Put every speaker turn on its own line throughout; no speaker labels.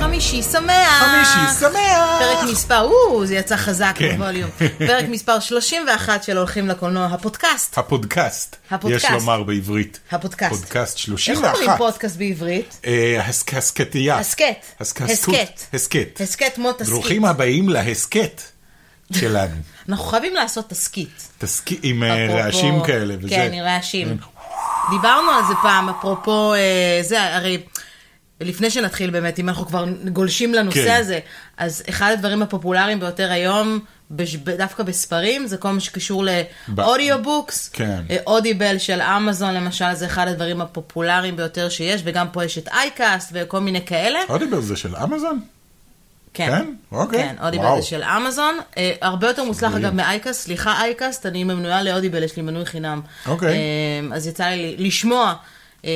חמישי שמח!
חמישי שמח!
פרק מספר, או, זה יצא חזק
כן.
בווליום. פרק מספר 31 של הולכים לקולנוע, הפודקאסט.
הפודקאסט,
הפודקאסט.
יש לומר בעברית.
הפודקאסט.
פודקאסט
איך
31.
אומרים פודקאסט בעברית?
אה, הסק- הסקטייה.
הסכת.
הסקסקות.
הסכת.
הסכת.
הסכת כמו תסכית.
ברוכים הבאים להסכת שלנו.
אנחנו חייבים לעשות תסכית.
תסכי עם אה,
אפרופו-
רעשים כאלה וזה. כן.
כן, עם רעשים. דיברנו על זה פעם, אפרופו אה, זה, הרי לפני שנתחיל באמת, אם אנחנו כבר גולשים לנושא
כן.
הזה, אז אחד הדברים הפופולריים ביותר היום, בש- דווקא בספרים, זה כל מה שקשור לאודיובוקס.
כן.
אודיבל של אמזון למשל, זה אחד הדברים הפופולריים ביותר שיש, וגם פה יש את אייקאסט וכל מיני כאלה.
אודיבל זה של אמזון? כן? אוקיי.
כן, אודיבל
וואו.
זה של אמזון. אה, הרבה יותר מוצלח אגב מאייקאסט, סליחה אייקאסט, אני מנויה לאודיבל, יש לי מנוי חינם.
אוקיי.
אה, אז יצא לי לשמוע, אה,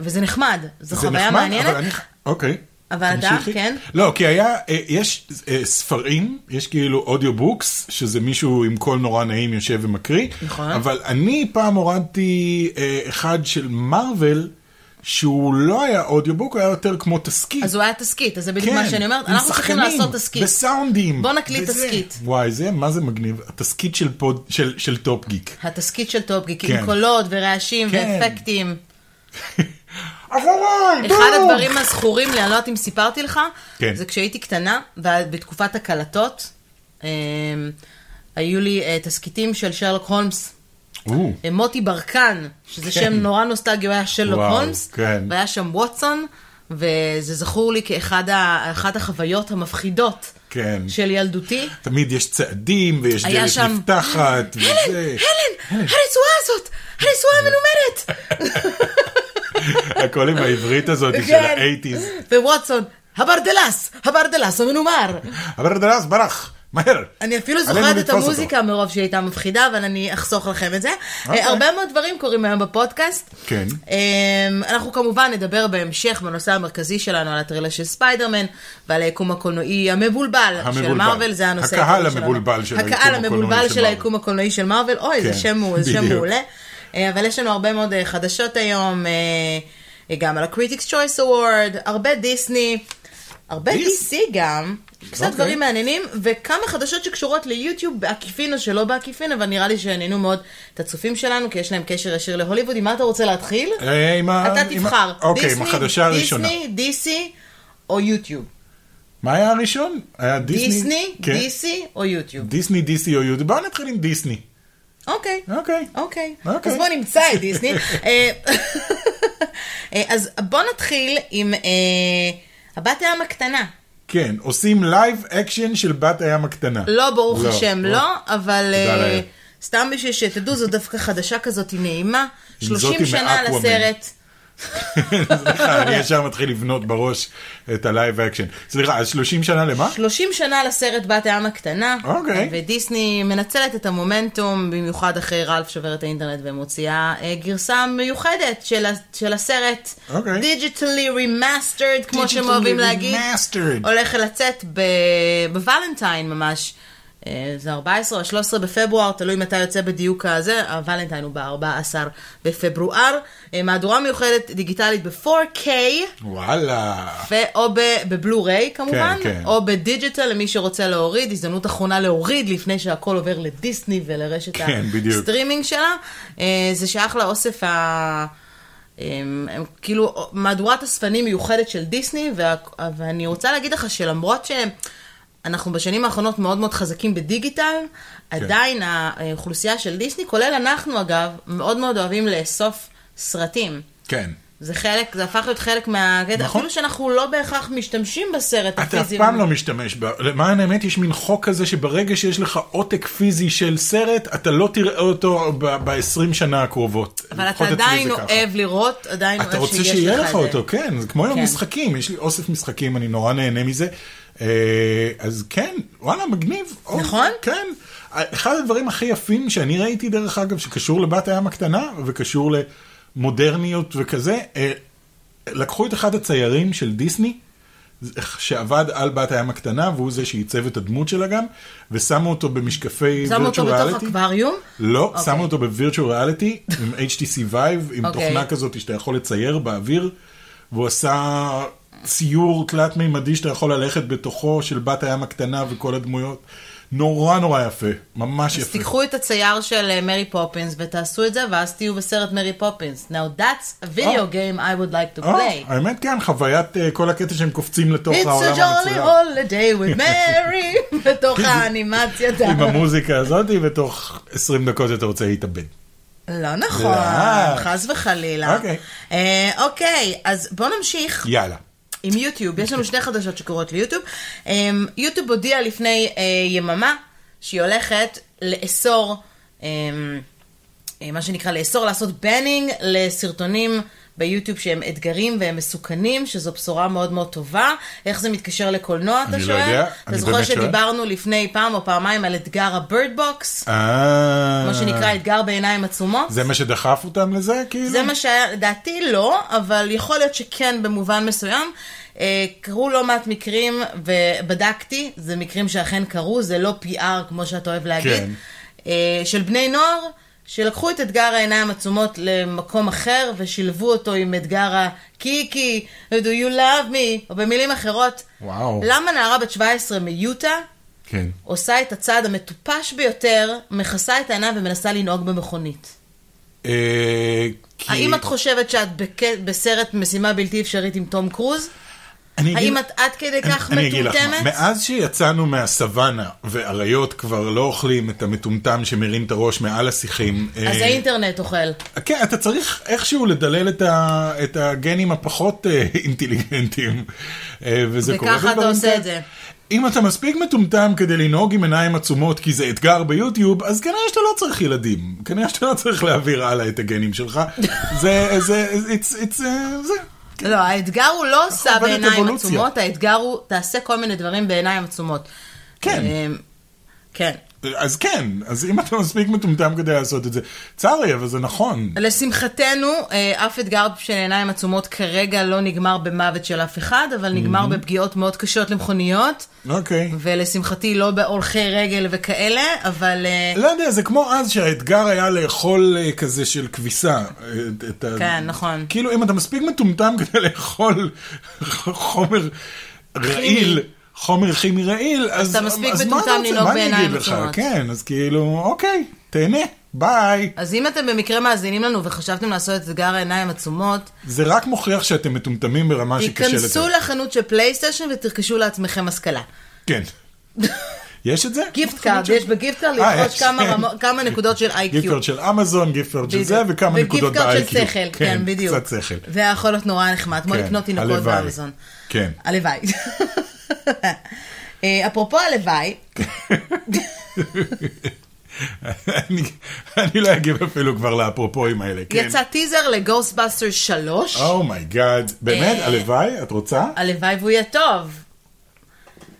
וזה נחמד, זו
זה
חוויה
נחמד, אבל
מעניינת.
אני... אוקיי.
אבל אתה,
תמשיכי.
כן?
לא, כי היה, אה, יש אה, ספרים, יש כאילו אודיובוקס, שזה מישהו עם קול נורא נעים יושב ומקריא.
נכון.
אבל אני פעם הורדתי אה, אחד של מארוול, שהוא לא היה אודיובוק, הוא היה יותר כמו תסכית.
אז הוא היה תסכית, אז זה בדיוק מה שאני אומרת,
כן, עם
אנחנו צריכים
שחקנים,
לעשות תסכית.
וסאונדים.
בוא נקליט
וזה.
תסכית.
וואי, זה, מה זה מגניב? התסכית של, פוד, של, של טופ גיק.
התסכית של טופגיק, עם
כן.
קולות ורעשים
כן.
ואפקטים.
אחריי,
אחד
בום!
הדברים הזכורים לי, אני לא יודעת אם סיפרתי לך,
כן.
זה כשהייתי קטנה, בתקופת הקלטות, אה, היו לי אה, תסכיתים של שרלוק הולמס.
או,
מוטי ברקן, שזה
כן.
שם נורא נוסטגי, הוא היה שלוק
וואו,
הולמס,
כן.
והיה שם ווטסון, וזה זכור לי כאחת ה- אחת החוויות המפחידות
כן.
של ילדותי.
תמיד יש צעדים, ויש
היה
דלת
שם,
נפתחת, וזה.
הלן, הרצועה הזאת, הרצועה המלומדת.
הכל עם העברית הזאת של
כן.
האייטיז.
וווטסון, הברדלס, הברדלס המנומר.
אבל הדרס ברח, מהר.
אני אפילו
עלינו
זוכרת את
לתפוס אותו.
המוזיקה מרוב שהיא הייתה מפחידה, אבל אני אחסוך לכם את זה.
אוקיי.
אה, הרבה מאוד דברים קורים היום בפודקאסט.
כן.
אמ, אנחנו כמובן נדבר בהמשך בנושא המרכזי שלנו על הטרילה של ספיידרמן ועל היקום הקולנועי המבולבל של
המבולבל.
מרוויל, זה הנושא
הקהל
העיקרי שלנו.
המבולבל של היקום
הקהל
הקולנועי
המבולבל
של
של
מארוול.
היקום הקולנועי של מרוויל, אוי, זה
כן,
שם הוא- זה שם
בדיוק.
מעולה. אה, אבל יש לנו הרבה מאוד אה, חדשות היום, אה, גם על ה-Critics Choice Award, הרבה דיסני, הרבה DC
דיס-
גם. קצת
אוקיי.
דברים מעניינים, וכמה חדשות שקשורות ליוטיוב בעקיפין או שלא בעקיפין, אבל נראה לי שעניינו מאוד את הצופים שלנו, כי יש להם קשר ישיר להוליווד. עם מה אתה רוצה להתחיל?
אה, עם ה-
אתה
עם ה-
תבחר.
אוקיי, עם
דיסני,
החדשה הראשונה.
דיסני, דיסי או יוטיוב.
מה היה הראשון? היה דיסני?
דיסני,
כן.
דיסי או יוטיוב.
דיסני, דיסי או יהודי. בואו נתחיל עם דיסני.
אוקיי.
אוקיי.
אוקיי.
אוקיי.
אז בוא נמצא את דיסני. אה, אה, אז בוא נתחיל עם אה, הבת הים הקטנה.
כן, עושים לייב אקשן של בת הים הקטנה.
לא, ברוך השם,
לא.
לא, אבל
תודה
אה,
לאל.
סתם בשביל שתדעו, זו דווקא חדשה כזאת היא נעימה.
עם
30
זאת,
שנה
עם האקוואמן.
לסרט. לא?
סליחה, אני ישר מתחיל לבנות בראש את הלייב אקשן. סליחה, אז 30 שנה למה?
30 שנה לסרט בת הים הקטנה,
אוקיי.
ודיסני מנצלת את המומנטום, במיוחד אחרי רלף שובר את האינטרנט ומוציאה אה, גרסה מיוחדת של, ה- של הסרט,
אוקיי.
דיג'יטלי רימאסטרד, כמו
Digitally
שהם אוהבים להגיד,
remastered.
הולך לצאת ב- בוולנטיין ממש. אה, זה 14 או 13 בפברואר, תלוי מתי יוצא בדיוק הזה, הוולנטיין הוא ב-14 בפברואר. אה, מהדורה מיוחדת דיגיטלית ב-4K.
וואלה.
ואו ב- בבלו-ריי כמובן,
כן, כן.
או בדיג'יטל למי שרוצה להוריד, הזדמנות אחרונה להוריד לפני שהכל עובר לדיסני ולרשת
כן, בדיוק.
הסטרימינג שלה. אה, זה שייך לאוסף ה... הם, הם, כאילו מהדורת אספנים מיוחדת של דיסני, וה, ואני רוצה להגיד לך שלמרות שאנחנו בשנים האחרונות מאוד מאוד חזקים בדיגיטל, כן. עדיין האוכלוסייה של דיסני, כולל אנחנו אגב, מאוד מאוד אוהבים לאסוף סרטים.
כן.
זה חלק, זה הפך להיות חלק מהקטע,
נכון.
אפילו שאנחנו לא בהכרח משתמשים בסרט
אתה אף
הפיזי.
פעם לא משתמש ב... למען האמת, יש מין חוק כזה שברגע שיש לך עותק פיזי של סרט, אתה לא תראה אותו ב-20 שנה הקרובות.
אבל אתה
לפחות אצלי
עדיין אה,
זה ככה.
אוהב לראות, עדיין
אתה
אוהב
רוצה
שיש
שיהיה לך
את זה.
אותו, כן, זה כמו עם
כן.
המשחקים, יש לי אוסף משחקים, אני נורא נהנה מזה. אה, אז כן, וואלה, מגניב. עוד-
נכון?
כן. אחד הדברים הכי יפים שאני ראיתי, דרך אגב, שקשור לבת הים הקטנה וקשור למודרניות וכזה, אה, לקחו את אחד הציירים של דיסני, שעבד על בת הים הקטנה, והוא זה שעיצב את הדמות שלה גם, ושמו אותו במשקפי
שמו אותו
virtual
בתוך
reality.
אקווריום,
לא,
אוקיי.
שמו אותו בווירטואל ריאליטי, עם HTC Vive, עם
אוקיי.
תוכנה כזאת שאתה יכול לצייר באוויר, והוא עשה ציור תלת-מימדי שאתה יכול ללכת בתוכו של בת הים הקטנה וכל הדמויות. נורא נורא יפה, ממש
אז
יפה.
תיקחו את הצייר של אה, מרי פופינס ותעשו את זה, ואז תהיו בסרט מרי פופינס. Now that's a video game I would like to
אה,
play.
האמת כן, חוויית אה, כל הקטע שהם קופצים לתוך
It's
לא העולם
a jolly
המצוין.
holiday with Mary, בתוך האנימציה.
עם המוזיקה הזאת, ותוך 20 דקות אתה רוצה להתאבד.
לא נכון,
לא.
חס וחלילה.
אוקיי.
אה, אוקיי, אז בואו נמשיך.
יאללה.
עם יוטיוב, יש לנו שני חדשות שקורות ליוטיוב. אמ, יוטיוב הודיעה לפני אה, יממה שהיא הולכת לאסור, אמ, אה, מה שנקרא לאסור לעשות בנינג לסרטונים ביוטיוב שהם אתגרים והם מסוכנים, שזו בשורה מאוד מאוד טובה. איך זה מתקשר לקולנוע, אתה
אני לא
שואל?
יודע,
אתה
אני
זוכר
באמת שואל.
שדיברנו לפני פעם או פעמיים על אתגר הבירד בוקס,
אה...
כמו שנקרא אתגר בעיניים עצומות?
זה מה שדחף אותם לזה, כאילו?
זה מה שהיה, לדעתי לא, אבל יכול להיות שכן במובן מסוים. אה, קרו לא מעט מקרים, ובדקתי, זה מקרים שאכן קרו, זה לא PR כמו שאתה אוהב להגיד,
כן.
אה, של בני נוער, שלקחו את אתגר העיניים עצומות למקום אחר, ושילבו אותו עם אתגר הקיקי, do you love me, או במילים אחרות.
וואו.
למה נערה בת 17 מיוטה
כן.
עושה את הצעד המטופש ביותר, מכסה את העיניים ומנסה לנהוג במכונית?
אה, כי...
האם את חושבת שאת בק... בסרט משימה בלתי אפשרית עם תום קרוז?
אני אגיד-
האם את עד כדי
אני-
כך
אני אגיד לך מה,
מטומטמת?
מאז שיצאנו מהסוואנה, ואריות כבר לא אוכלים את המטומטם שמרים את הראש מעל השיחים.
אז
אה,
האינטרנט אוכל.
כן, אתה צריך איכשהו לדלל את, ה, את הגנים הפחות אה, אינטליגנטיים, אה, וזה קורה.
וככה אתה
בדברים
עושה
כאלה.
את זה.
אם אתה מספיק מטומטם כדי לנהוג עם עיניים עצומות כי זה אתגר ביוטיוב, אז כנראה שאתה לא צריך ילדים. כנראה שאתה לא צריך להעביר הלאה את הגנים שלך. זה, זה, it's, it's, אה, זה.
לא, האתגר הוא לא עושה
עובדת
בעיניים
אבולוציה.
עצומות, האתגר הוא תעשה כל מיני דברים בעיניים עצומות.
כן.
אמ, כן.
אז כן, אז אם אתה מספיק מטומטם כדי לעשות את זה, צר לי, אבל זה נכון.
לשמחתנו, אה, אף אתגר של עיניים עצומות כרגע לא נגמר במוות של אף אחד, אבל נגמר בפגיעות מאוד קשות למכוניות,
אוקיי.
ולשמחתי לא בהולכי רגל וכאלה, אבל... אה,
לא יודע, זה כמו אז שהאתגר היה לאכול אה, כזה של כביסה. אה, את- את ה-
כן, נכון.
כאילו, אם אתה מספיק מטומטם כדי לאכול חומר רעיל, חומר כימי רעיל, אז
אתה מספיק
אז מה
מטומטם
רוצה?
לנהוג
מה אני אגיד
בעיניים
לך?
עצומות.
כן, אז כאילו, אוקיי, תהנה, ביי.
אז אם אתם במקרה מאזינים לנו וחשבתם לעשות את אתגר העיניים עצומות,
זה רק מוכיח שאתם מטומטמים ברמה שקשה לזה.
תיכנסו לחנות של פלייסטיישן ותרכשו לעצמכם השכלה.
כן. יש את זה?
גיפט קארד, יש בגיפט קארד
אה,
לרכוש
יש,
כמה
כן.
רמות- כמה נקודות של
גיפט
איי-קיו.
קארד של אמזון, גיפט קארד של זה, וכמה נקודות ב-IQ.
וגיפט קארד של שכל, כן, בדיוק.
קצת שכל.
זה יכול להיות נורא נחמד, כמו
כן,
לקנות תינוקות
הלוואי.
באמזון.
כן.
הלוואי. אה, אפרופו הלוואי,
אני אני לא אגיב אפילו כבר לאפרופואים האלה, כן.
יצא טיזר לגוסטבאסטר 3,
אומייגאד, באמת,
אה,
הלוואי, את רוצה?
הלוואי והוא יהיה טוב.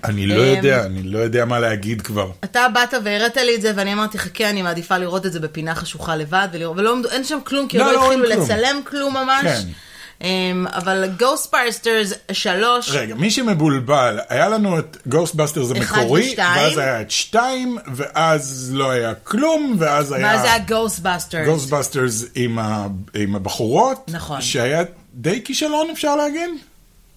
אני לא
אמ,
יודע, אני לא יודע מה להגיד כבר.
אתה באת והראית לי את זה, ואני אמרתי, חכה, אני מעדיפה לראות את זה בפינה חשוכה לבד, ולראות, ולא, עמדו- אין שם כלום, כי
לא,
עוד לא
לא רואים
התחילו
כלום.
לצלם כלום ממש.
כן.
אמ, אבל Ghostbusters 3,
רגע, מי שמבולבל, היה לנו את גוסטבאסטרס
אחד
המקורי,
ושתיים.
ואז היה את שתיים, ואז לא היה כלום, ואז
ואז זה
היה
היה Ghostbusters.
גוסטבאסטרס עם ה- עם הבחורות,
נכון.
שהיה די כישלון אפשר להגיד?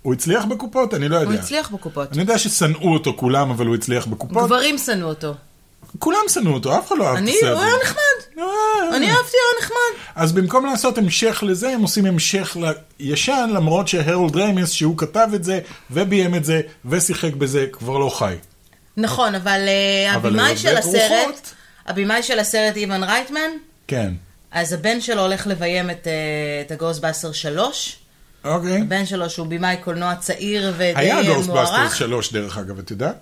הוא הצליח בקופות? אני לא יודע.
הוא הצליח בקופות.
אני יודע ששנאו אותו כולם, אבל הוא הצליח בקופות.
גברים שנאו אותו.
אה, כולם שנאו אותו, אף אחד לא אהב את
אני,
הסרט.
הוא היה נחמד.
אה.
אני אהבתי, הוא היה נחמד.
אז במקום לעשות המשך לזה, הם עושים המשך לישן, למרות שהרולד ריימס, שהוא כתב את זה, וביים את זה, ושיחק בזה, כבר לא חי.
נכון, אבל אה,
אבל
הבמאי
ללבק
של הסרט,
רוחות.
הבמאי של הסרט איוון רייטמן,
כן.
אז הבן שלו הולך לביים את, אה, את הגוסטבאסטר 3.
אוקיי.
הבן שלו שהוא במאי קולנוע צעיר ודי מוערך.
היה גוסטבאסטרס 3, דרך אגב, את יודעת?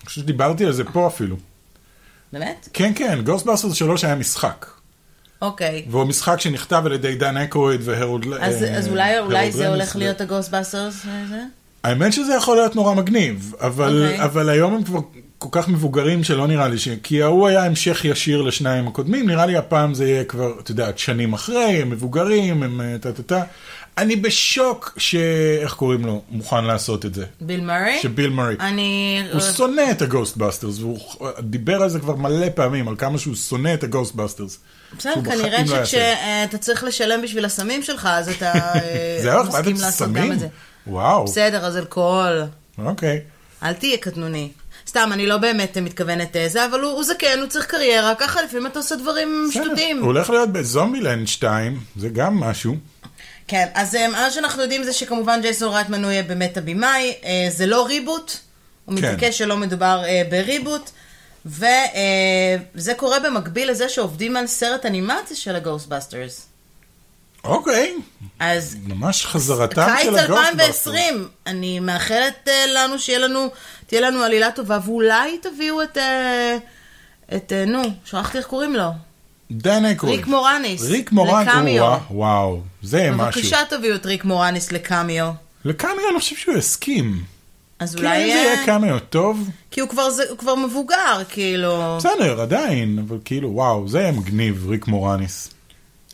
אני חושב שדיברתי על זה פה אפילו.
באמת?
כן, כן, גוסטבאסטרס 3 היה משחק.
אוקיי.
והוא משחק שנכתב על ידי דן אקרויד והרולד
אז,
אה,
אז אולי, אולי
הרולד
זה
ריימס
הולך
ו-
להיות הגוסטבאסטרס הזה?
האמת שזה יכול להיות נורא מגניב, אבל,
אוקיי.
okay. אבל היום הם כבר כל כך מבוגרים שלא נראה לי ש... כי ההוא היה המשך ישיר לשניים הקודמים, נראה לי הפעם זה יהיה כבר, את יודעת, שנים אחרי, הם מבוגרים, הם אה, טה טה טה. אני בשוק ש... איך קוראים לו? מוכן לעשות את זה.
ביל מרי?
שביל
אה,
מרי.
אני...
הוא שונא את הגוסטבאסטרס, והוא דיבר על זה כבר מלא פעמים, על כמה שהוא שונא את הגוסטבאסטרס.
בסדר,
שהוא בחיים
כנראה
לא יעשה את זה.
שכשאתה צריך לשלם בשביל הסמים שלך, אז אתה אה,
זהו, את
מסכים
אוהבת
לעשות
סמים?
גם את זה.
וואו,
בסדר, אז אלכוהול.
אוקיי.
אל תהיה קטנוני. סתם, אני לא באמת מתכוונת אה, זה, אבל הוא הוא זקן, הוא צריך קריירה, ככה לפעמים אתה עושה דברים
בסדר.
שטותיים.
הוא הולך להיות בזומבילנד 2, זה גם משהו.
כן, אז אה, מה שאנחנו יודעים זה שכמובן ג'ייסון רייטמן הוא יהיה באמת הבמאי, אה, זה לא ריבוט, הוא
כן.
מתעקש שלא מדובר אה, בריבוט, וזה קורה במקביל לזה שעובדים על סרט אנימציה של הגוסטבאסטרס.
אוקיי,
אז
ממש חזרתם
קיץ
של הגוסטבאסטרס.
2020, אני מאחלת אה, לנו שיהיה לנו, תהיה לנו עלילה טובה, ואולי תביאו את, אה, את, אה, נו, שכחתי איך קוראים לו.
דן אקרון.
ריק מורניס.
ריק מורן,
לקמיו.
וואו, וואו, זה משהו.
בבקשה תביאו את ריק מורניס לקמיו.
לקמיו אני לא חושב שהוא יסכים.
אז
כאילו
אולי...
אם זה
אה,
יהיה קמיו טוב,
כי הוא כבר, זה, הוא כבר מבוגר, כאילו.
בסדר, עדיין, אבל כאילו, וואו, זה מגניב, ריק מורניס.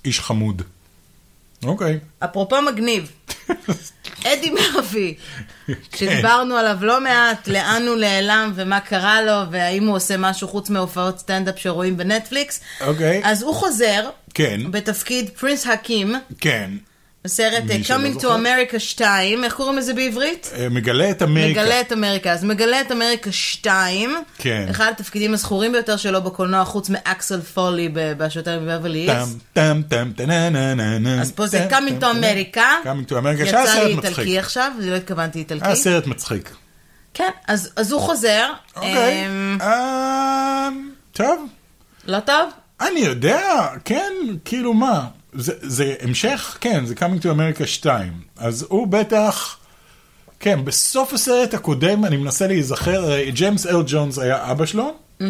איש חמוד. אוקיי.
אפרופו מגניב, אדי מרפי,
כן.
שדיברנו עליו לא מעט, לאן הוא נעלם ומה קרה לו, והאם הוא עושה משהו חוץ מהופעות סטנדאפ שרואים בנטפליקס.
אוקיי.
אז הוא חוזר,
כן,
בתפקיד פרינס חכים,
כן.
בסרט
מי
אה,
שלא
Coming to
זוכר.
America 2, איך קוראים לזה בעברית?
אה, מגלה את אמריקה.
מגלה את אמריקה. אז מגלה את אמריקה 2,
כן.
אחד התפקידים הזכורים ביותר שלו בקולנוע, חוץ מאקסל פולי ב- בשוטר מבברלי
טם,
הילס.
טם, טם, טנננננ.
אז פה זה
טם,
Coming
טם,
to
טם.
America.
Coming to America, שהיה
יצא לי
סרט מצחיק.
איטלקי עכשיו, לא התכוונתי
היה
איטלקי.
סרט מצחיק.
כן, אז אז הוא חוזר.
אוקיי.
אמ,
אה, טוב.
לא טוב?
אני יודע, כן, כאילו מה, זה, זה המשך, כן, זה Coming to America 2, אז הוא בטח, כן, בסוף הסרט הקודם, אני מנסה להיזכר, הרי ג'יימס ארל ג'ונס היה אבא שלו,
Mm-hmm.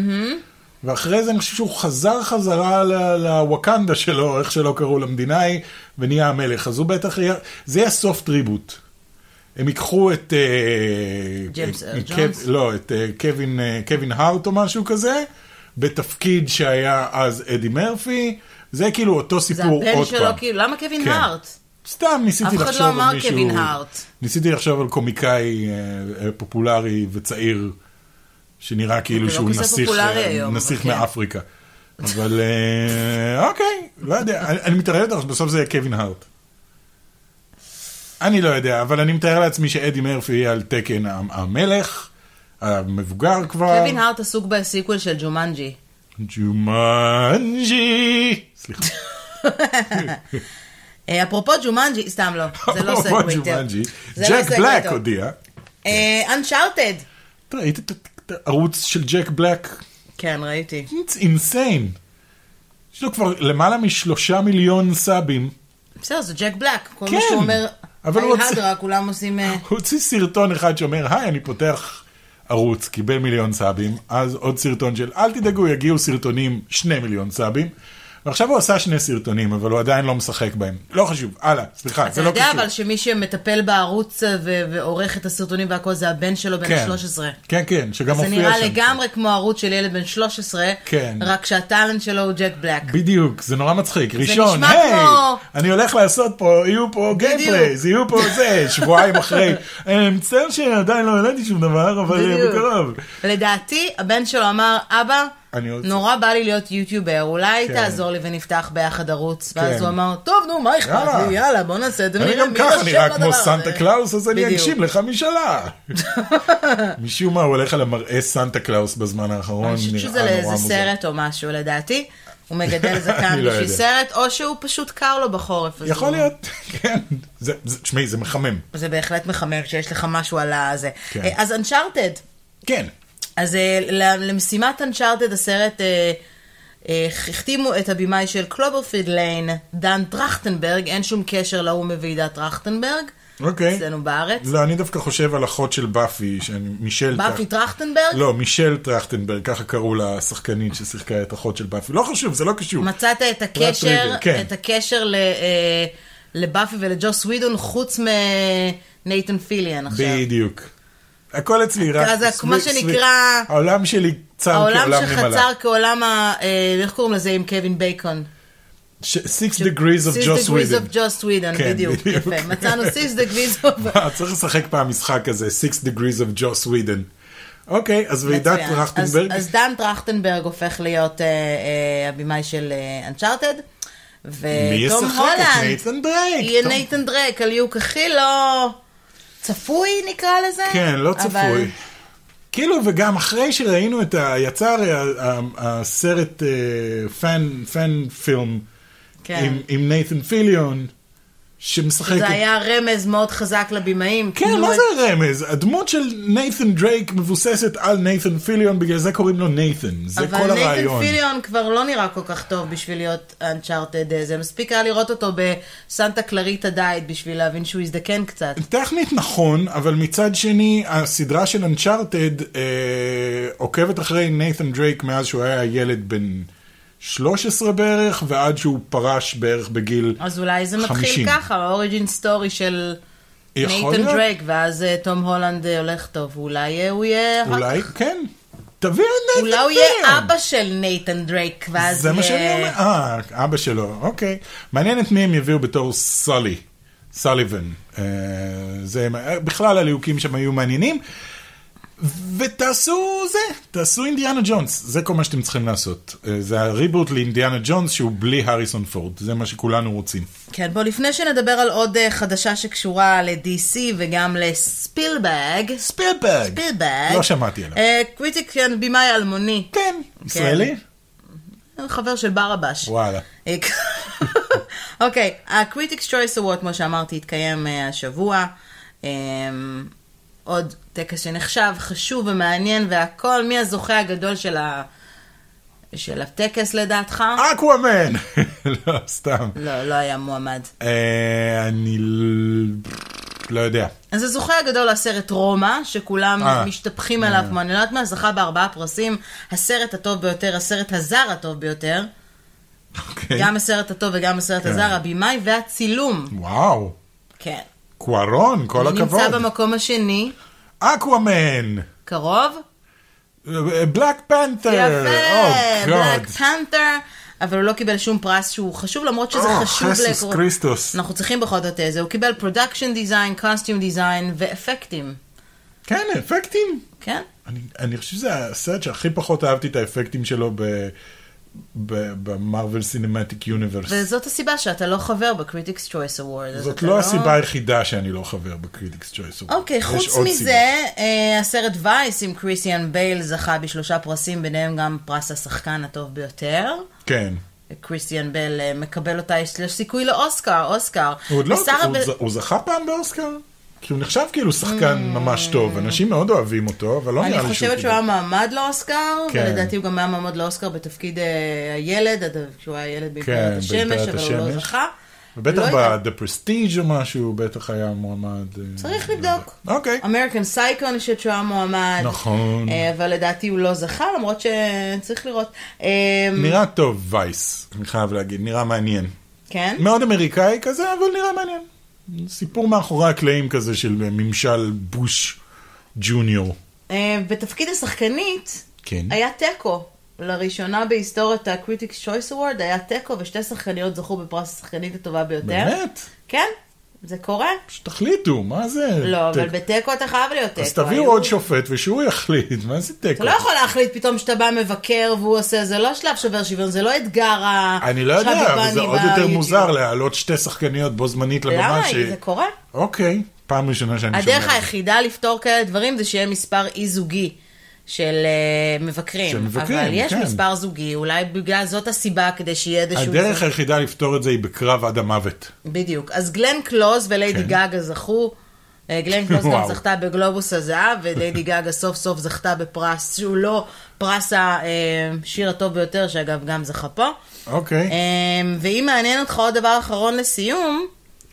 ואחרי זה אני חושב שהוא חזר חזרה ל- לווקנדה שלו, איך שלא קראו למדינה ההיא, ונהיה המלך, אז הוא בטח יהיה, זה יהיה סופט ריבוט. הם ייקחו את... אה,
ג'יימס ארל
את-
ג'ונס?
קב- לא, את אה, קווין, אה, קווין הארט או משהו כזה, בתפקיד שהיה אז אדי מרפי, זה כאילו אותו
זה
סיפור
הבן
עוד
שלו,
פעם.
כאילו, למה קווין
כן.
הארט?
סתם ניסיתי
אף אחד
לחשוב
לא
על
אמר
מישהו...
קווין הארט.
ניסיתי לחשוב על קומיקאי אה, אה, פופולרי וצעיר, שנראה
זה
כאילו
לא
שהוא
כזה
נסיך,
פופולרי
אה,
היום, אבל
נסיך
כן.
מאפריקה. אבל אה, אוקיי, לא יודע, אני, אני מתאר לך שבסוף זה יהיה קווין הארט. אני לא יודע, אבל אני מתאר לעצמי שאדי מרפי יהיה על תקן המ- המלך, המבוגר כבר.
קווין הארט עסוק בסיקוול של ג'ומנג'י.
ג'ומנג'י. סליחה.
אה, אפרופו ג'ומנג'י, סתם לא, זה לא
אפרופו
סגווי טוב.
ג'ומנג'י.
זה לא אה,
ג'ק
סגווי
בלק
טוב.
הודיע.
אנצ'ארטד.
אתה ראית את את הערוץ של ג'ק בלק?
כן, ראיתי.
It's insane. יש לו כבר למעלה משלושה מיליון סאבים.
בסדר, זה ג'ק בלק. כל
כן,
מה שהוא אומר,
אבל
היי
הוא רוצה-
הדרה, כולם עושים... אה,
הוא הוציא סרטון אחד שאומר, היי, אני פותח ערוץ, קיבל מיליון סאבים. אז עוד סרטון של, אל תדאגו, יגיעו סרטונים, שני מיליון סאבים. ועכשיו הוא עשה שני סרטונים, אבל הוא עדיין לא משחק בהם. לא חשוב, הלאה, סליחה,
אתה
זה לא
יודע
קשור.
אבל שמי שמטפל בערוץ אה, ו- ועורך את הסרטונים והכל זה הבן שלו בן
כן.
ה-13.
כן, כן, שגם
זה
מופיע שם.
נראה לגמרי כמו ערוץ של ילד בן 13,
כן.
רק שהטאלנט שלו הוא ג'ק בלק.
בדיוק, זה נורא מצחיק. ראשון,
נשמע
היי,
כמו-
אני הולך לעשות פה, יהיו פה גיימפלייז, יהיו פה זה, שבועיים אחרי. "אה, מצטער שעדיין לא העליתי שום דבר, אבל אה,
בדיוק.
בקרוב.
לדעתי, הבן שלו אמר, אבא,
אני לא רוצה."
נורא בא לי להיות יוטיובר, אולי
כן.
תעזור לי ונפתח ביחד ערוץ.
כן.
ואז הוא אמר, טוב, נו, מה אכפת
יאללה.
לי, יאללה, בוא נעשה את זה,
אני
ונראה
גם
מי
ככה
יושב לדבר
נראה כמו
הזה."
סנטה קלאוס, אז אני
בדיוק.
אגשים לך משאלה. משום מה, הוא הולך על המראה סנטה קלאוס בזמן האחרון.
אני חושבת
נראה
שזה
נורא
לאיזה
מוזר.
סרט או משהו, לדעתי. הוא מגדל זקן
אני לא
בשביל
יודע.
סרט, או שהוא פשוט קר לו בחורף. אז
יכול
הוא-
להיות, כן. זה- זה- תשמעי, זה מחמם.
זה בהחלט מחמם שיש לך משהו על הזה.
כן.
אה, אז אנצ'ארטד.
כן.
אז אה, ל- למשימת אנצ'ארטד הסרט אה, אה, החתימו את הבמאי של קלוברפיד ליין, דן טרכטנברג, אין שום קשר להוא מוועידת טרכטנברג,
אוקיי.
אצלנו בארץ.
לא, אני דווקא חושב על אחות של באפי, שאני- מישל
באפי
טרכטנברג.
טרכטנברג?
לא, מישל טרכטנברג, ככה קראו לה השחקנית ששיחקה את אחות של באפי. לא חשוב, זה לא קשור.
מצאת את הקשר,
טריוויה, כן.
את הקשר ל- אה, לבאפי ולג'וס ווידון חוץ מנייתן פיליאן עכשיו.
בדיוק. הכל אצלי רק...
אז זה
סביב-
מה
סביב-
שנקרא-
העולם שלי צר
העולם
כעולם נמלה.
שלך צר כעולם ה... אה, איך קוראים לזה עם קווין בייקון?
ש- Six Degrees of Joss Whedon.
of Joss Whedon,
כן,
בדיוק.
בדיוק.
יפה, מצאנו Six Degrees of...
וואו, צריך לשחק פעם משחק כזה, Six Degrees of Joss Whedon. אוקיי, אז ועידת
מצוין.
טרכטנברג,
אז, אז דן טרכטנברג הופך להיות אה, אה, הבמאי של אנצ'ארטד.
מי
ותום
ישחק את
אה, הולנד
נייתן דרייק?
יהיה
תום-
נייתן דרק על יוק הכי לא צפוי נקרא לזה.
כן, לא
אבל-
צפוי. כאילו, וגם אחרי שראינו את ה... יצא הרי ה- ה- הסרט אה, פן- פן פילם
כן.
עם- עם נייתן פיליון, שמשחק...
זה
את-
היה רמז מאוד חזק לבמאים.
כן,
תנו
מה
את-
זה הרמז? הדמות של נייתן דרייק מבוססת על נייתן פיליון, בגלל זה קוראים לו נייתן. זה כל
אבל נייתן
הרעיון.
פיליון כבר לא נראה כל כך טוב בשביל להיות אנצ'ארטד. זה מספיק היה לראות אותו בסנטה קלריטה דייט בשביל להבין שהוא הזדקן קצת.
טכנית נכון, אבל מצד שני, הסדרה של אנצ'ארטד אה, עוקבת אחרי נייתן דרייק מאז שהוא היה ילד בן 13 בערך, ועד שהוא פרש בערך בגיל...
אז אולי זה מתחיל
50.
ככה, האוריג'ין סטורי של
יכול
נייתן
להיות.
דרייק, ואז אה, תום הולנד אה, הולך טוב, אולי אה, הוא יהיה...
אולי, כן. תביאו את נייתן
אולי
דרייק.
הוא יהיה אבא של נייתן דרייק, ואז
זה מה שאני
יהיה-
אומר. אה, אבא שלו, אוקיי. מעניין את מי הם יביאו בתור סולי, סוליבן. אה, זה, אה, בכלל הליהוקים שם היו מעניינים. ותעשו זה, תעשו אינדיאנה ג'ונס, זה כל מה שאתם צריכים לעשות. אה, זה הריבוט לאינדיאנה ג'ונס שהוא בלי האריסון פורד, זה מה שכולנו רוצים.
כן, בוא, לפני שנדבר על עוד אה, חדשה שקשורה ל-DC וגם לספילבג,
ספילברג.
ספילבג,
לא שמעתי עליו.
אה, קריטיק כן, במאי אלמוני,
כן, ישראלי?
חבר של ברבש.
וואלה.
אה, אוקיי, ה-Critics Choice Award, כמו שאמרתי, התקיים אה, השבוע. אה, עוד טקס שנחשב חשוב ומעניין והכל, מי הזוכה הגדול של, ה... של הטקס לדעתך?
אקוואמן! לא, סתם.
לא, לא היה מועמד.
אה, אני ל- לא יודע.
אז הזוכה הגדול לסרט רומא, שכולם
אה.
משתפכים עליו, כמו אני לא יודעת מה, זכה בארבעה פרסים, הסרט הטוב ביותר, הסרט הזר הטוב ביותר,
אוקיי.
גם הסרט הטוב וגם הסרט
כן.
הזר, הבמאי והצילום.
וואו.
כן.
קוארון, כל
הוא
הכבוד.
נמצא במקום השני,
אקוואמן,
קרוב.
בלק פנתר. oh,
יפה, בלק פנת'ר, אבל הוא לא קיבל שום פרס שהוא חשוב, למרות שזה
Oh,
חשוב
Jesus Christus.
אנחנו צריכים בכל זאת את זה. הוא קיבל פרודקשן דיזיין, קוסטיום דיזיין ואפקטים,
כן, אפקטים.
כן?
אני, אני חושב שזה הסרט שהכי פחות אהבתי את האפקטים שלו ב... במרוויל סינמטיק יוניברס.
וזאת הסיבה שאתה לא חבר בקריטיקס צ'וייס אוורד.
זאת לא הסיבה היחידה שאני לא חבר בקריטיקס צ'וייס.
אוקיי, חוץ מזה, אה, הסרט וייס עם קריסיאן בייל זכה בשלושה פרסים, ביניהם גם פרס השחקן הטוב ביותר.
כן.
קריסטיאן בל אה, מקבל אותה, יש לו סיכוי לאוסקר, אוסקר.
הוא עוד לא...
ושרה
הוא,
ב-
ז... הוא זכה פעם באוסקר? כי הוא נחשב כאילו שחקן ממש טוב. אנשים מאוד אוהבים אותו, אבל לא נראה לי
Mm. אני
שהוא...
חושבת שהוא
קיבל.
היה מועמד לאוסקר,
כן.
ולדעתי הוא גם היה מועמד לאוסקר בתפקיד אה, הילד, עד- כשהוא היה ילד
כן,
במקורת השמש,
באימפריית
אבל הוא לא
השמש.
זכה.
ובטח
לא יודעת.
ב-The Prestige או משהו, בטח היה מועמד. אה,
צריך לבדוק.
אוקיי.
אמריקן סייקו אני חושבת שהוא היה מועמד.
נכון.
אה, אבל לדעתי הוא לא זכה, למרות שצריך לראות. אה,
נראה טוב וייס, אני חייב להגיד, נראה מעניין.
כן?
מאוד אמריקאי כזה, אבל נראה מעניין. סיפור מאחורי הקלעים כזה של ממשל בוש ג'וניור.
אה, בתפקיד השחקנית,
כן.
היה תיקו. לראשונה בהיסטוריית ה-Critics Choice Award היה תיקו, ושתי שחקניות זכו בפרס השחקנית הטובה ביותר.
באמת?
כן, זה קורה.
שתחליטו, מה זה?
לא, אבל
תיקו?
בתיקו אתה חייב להיות תיקו.
אז תביאו
היו-
עוד שופט ושהוא יחליט, מה זה תיקו?
אתה לא יכול להחליט פתאום שאתה בא מבקר והוא עושה, זה לא שלב שובר שוויון, זה לא אתגר ה...
אני לא יודע,
שהדובני
אבל זה עוד יותר
ביוטיוב.
מוזר להעלות שתי שחקניות בו זמנית לבמה
למה?
ש...
זה קורה.
אוקיי, פעם ראשונה שאני שומע.
הדרך
את זה.
היחידה לפתור כאלה דברים זה שיהיה מספר אי-זוגי של אה, מבקרים.
של מבקרים,
אבל יש
כן.
מספר זוגי, אולי בגלל זאת הסיבה כדי שיהיה איזשהו...
הדרך
זוג.
היחידה לפתור את זה היא בקרב עד המוות.
בדיוק. אז גלן קלוז וליידי
כן.
גאגה זכו. אה, גלן קלוז גם
וואו.
זכתה בגלובוס הזהב, וליידי גאגה סוף סוף זכתה בפרס שהוא לא פרס השיר הטוב ביותר, שאגב גם זכה פה.
אוקיי.
אמ, ואם מעניין אותך עוד דבר אחרון לסיום,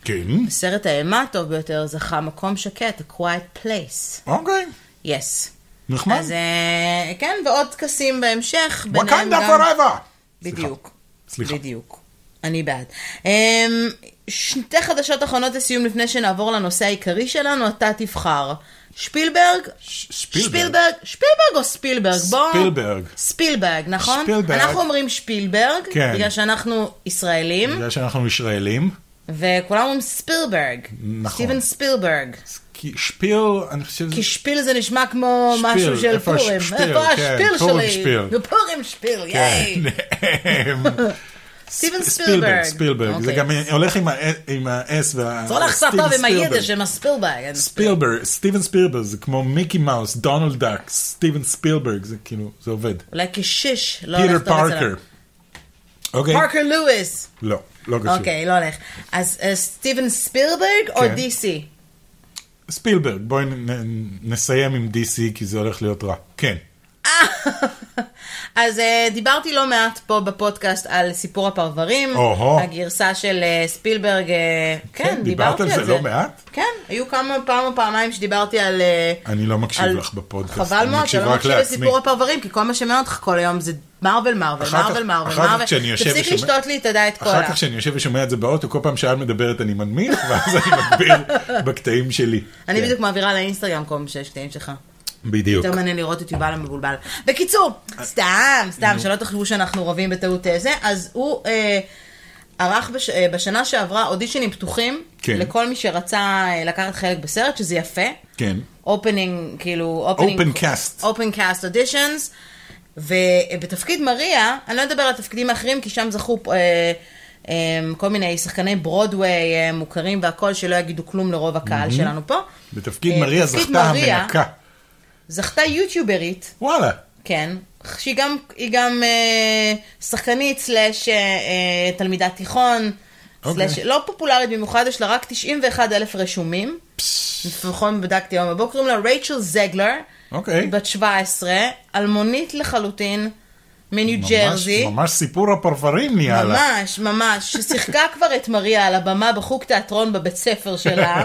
כן.
סרט האימה הטוב ביותר זכה מקום שקט, A Quiet Place.
אוקיי.
יס.
נחמד.
אז אה, כן, ועוד טקסים בהמשך. ביניהם
וואקנדה
גם-
פוראבר!
בדיוק.
סליחה.
בדיוק. אני בעד. אמ, שתי חדשות אחרונות לסיום לפני שנעבור לנושא העיקרי שלנו, אתה תבחר. שפילברג?
ש- שפילברג.
שפילברג? שפילברג או ספילברג? בוא...
ספילברג.
ספילברג, נכון?
שפילברג.
אנחנו אומרים שפילברג,
כן.
בגלל שאנחנו ישראלים,
בגלל שאנחנו ישראלים.
וכולם אומרים ספילברג.
נכון.
סטיבן ספילברג.
כי שפיל, אני חושב...
כי שפיל זה נשמע כמו
שפיל,
משהו של
איפה
פורים.
השפיל,
איפה
כן,
השפיל
פורים
שלי?
שפיל. כן.
בפורים שפיל, ייי. סטיבן ספילברג.
ספילברג, ספילברג. זה
אוקיי.
גם הולך עם ה- עם ה-S וה...
זה הולך סרטוב
סטיבן
עם הידע
ספילברג.
של הספילברג.
ספילברג, סטיבן ספילברג זה כמו מיקי מאוס, דונלד דאק, סטיבן ספילברג, זה כאילו, זה עובד.
אולי כשיש. לא
פיטר
הולך טוב אצלם.
פארקר. אוקיי?
פארקר לואיס.
לא, לא קשור.
אוקיי, לא הולך. אז אה, סטיבן ספילברג או
כן.
DC?
ספילברג, בואי נ- נ- נסיים עם DC כי זה הולך להיות רע. כן.
אז אה, דיברתי לא מעט פה בפודקאסט על סיפור הפרברים,
אוהו.
הגרסה של אה, ספילברג, אה, כן,
דיברת
דיברתי
על זה לא מעט?
כן, היו כמה פעם או פעמיים שדיברתי על... אה,
אני לא מקשיב
על-
לך בפודקאסט,
חבל
אני
מאוד,
מקשיב
אתה לא
רק
מקשיב
לעצמי.
לסיפור הפרברים, כי כל מה שמעניין אותך כל היום זה מרוויל, מרוויל,
אחר כך-
מרוויל, מרוויל,
אחר כך
מרוויל.
כשאני יושב
תפסיק
ושומע-
לשתות לי, תדע את כל
אחר
ה...
כך כשאני יושב ושומע את זה באוטו, כל פעם שאת מדברת אני מנמיך, ואז אני מגביר בקטעים שלי.
אני
כן,
בדיוק מעבירה לאינסטגרם כל מיני שתיים שלך.
בדיוק.
יותר מעניין לראות את יובל המבולבל. בקיצור, סתם, סתם, שלא תחשבו שאנחנו רבים בטעות אה, זה, אז הוא אה, ערך בש- אה, בשנה שעברה אודישנים פתוחים,
כן.
לכל מי שרצה אה, לקחת חלק בסרט, שזה יפה.
כן.
אופנינג, כאילו,
Open cast.
אופן קאסט אודישנס, ובתפקיד מריה, אני לא אדבר על התפקידים האחרים, כי שם זכו אה, אה, כל מיני שחקני ברודוויי אה, מוכרים והכל, שלא יגידו כלום לרוב הקהל שלנו פה.
בתפקיד
אה,
מריה
בתפקיד
זכתה
מריה,
המנקה.
זכתה יוטיוברית,
וואלה.
כן, שהיא גם, היא גם אה, שחקנית סלאש אה, אה, תלמידת תיכון,
אוקיי.
סלאש לא פופולרית במיוחד, יש לה רק 91 אלף רשומים. נכון, בדקתי היום בבוקר, קוראים לה רייצ'ל זגלר,
אוקיי.
בת 17, אלמונית לחלוטין, מניו
ממש-
ג'רזי.
ממש סיפור הפרברים נהיה לה.
ממש, ממש, ששיחקה כבר את מריה על הבמה בחוג תיאטרון בבית ספר שלה.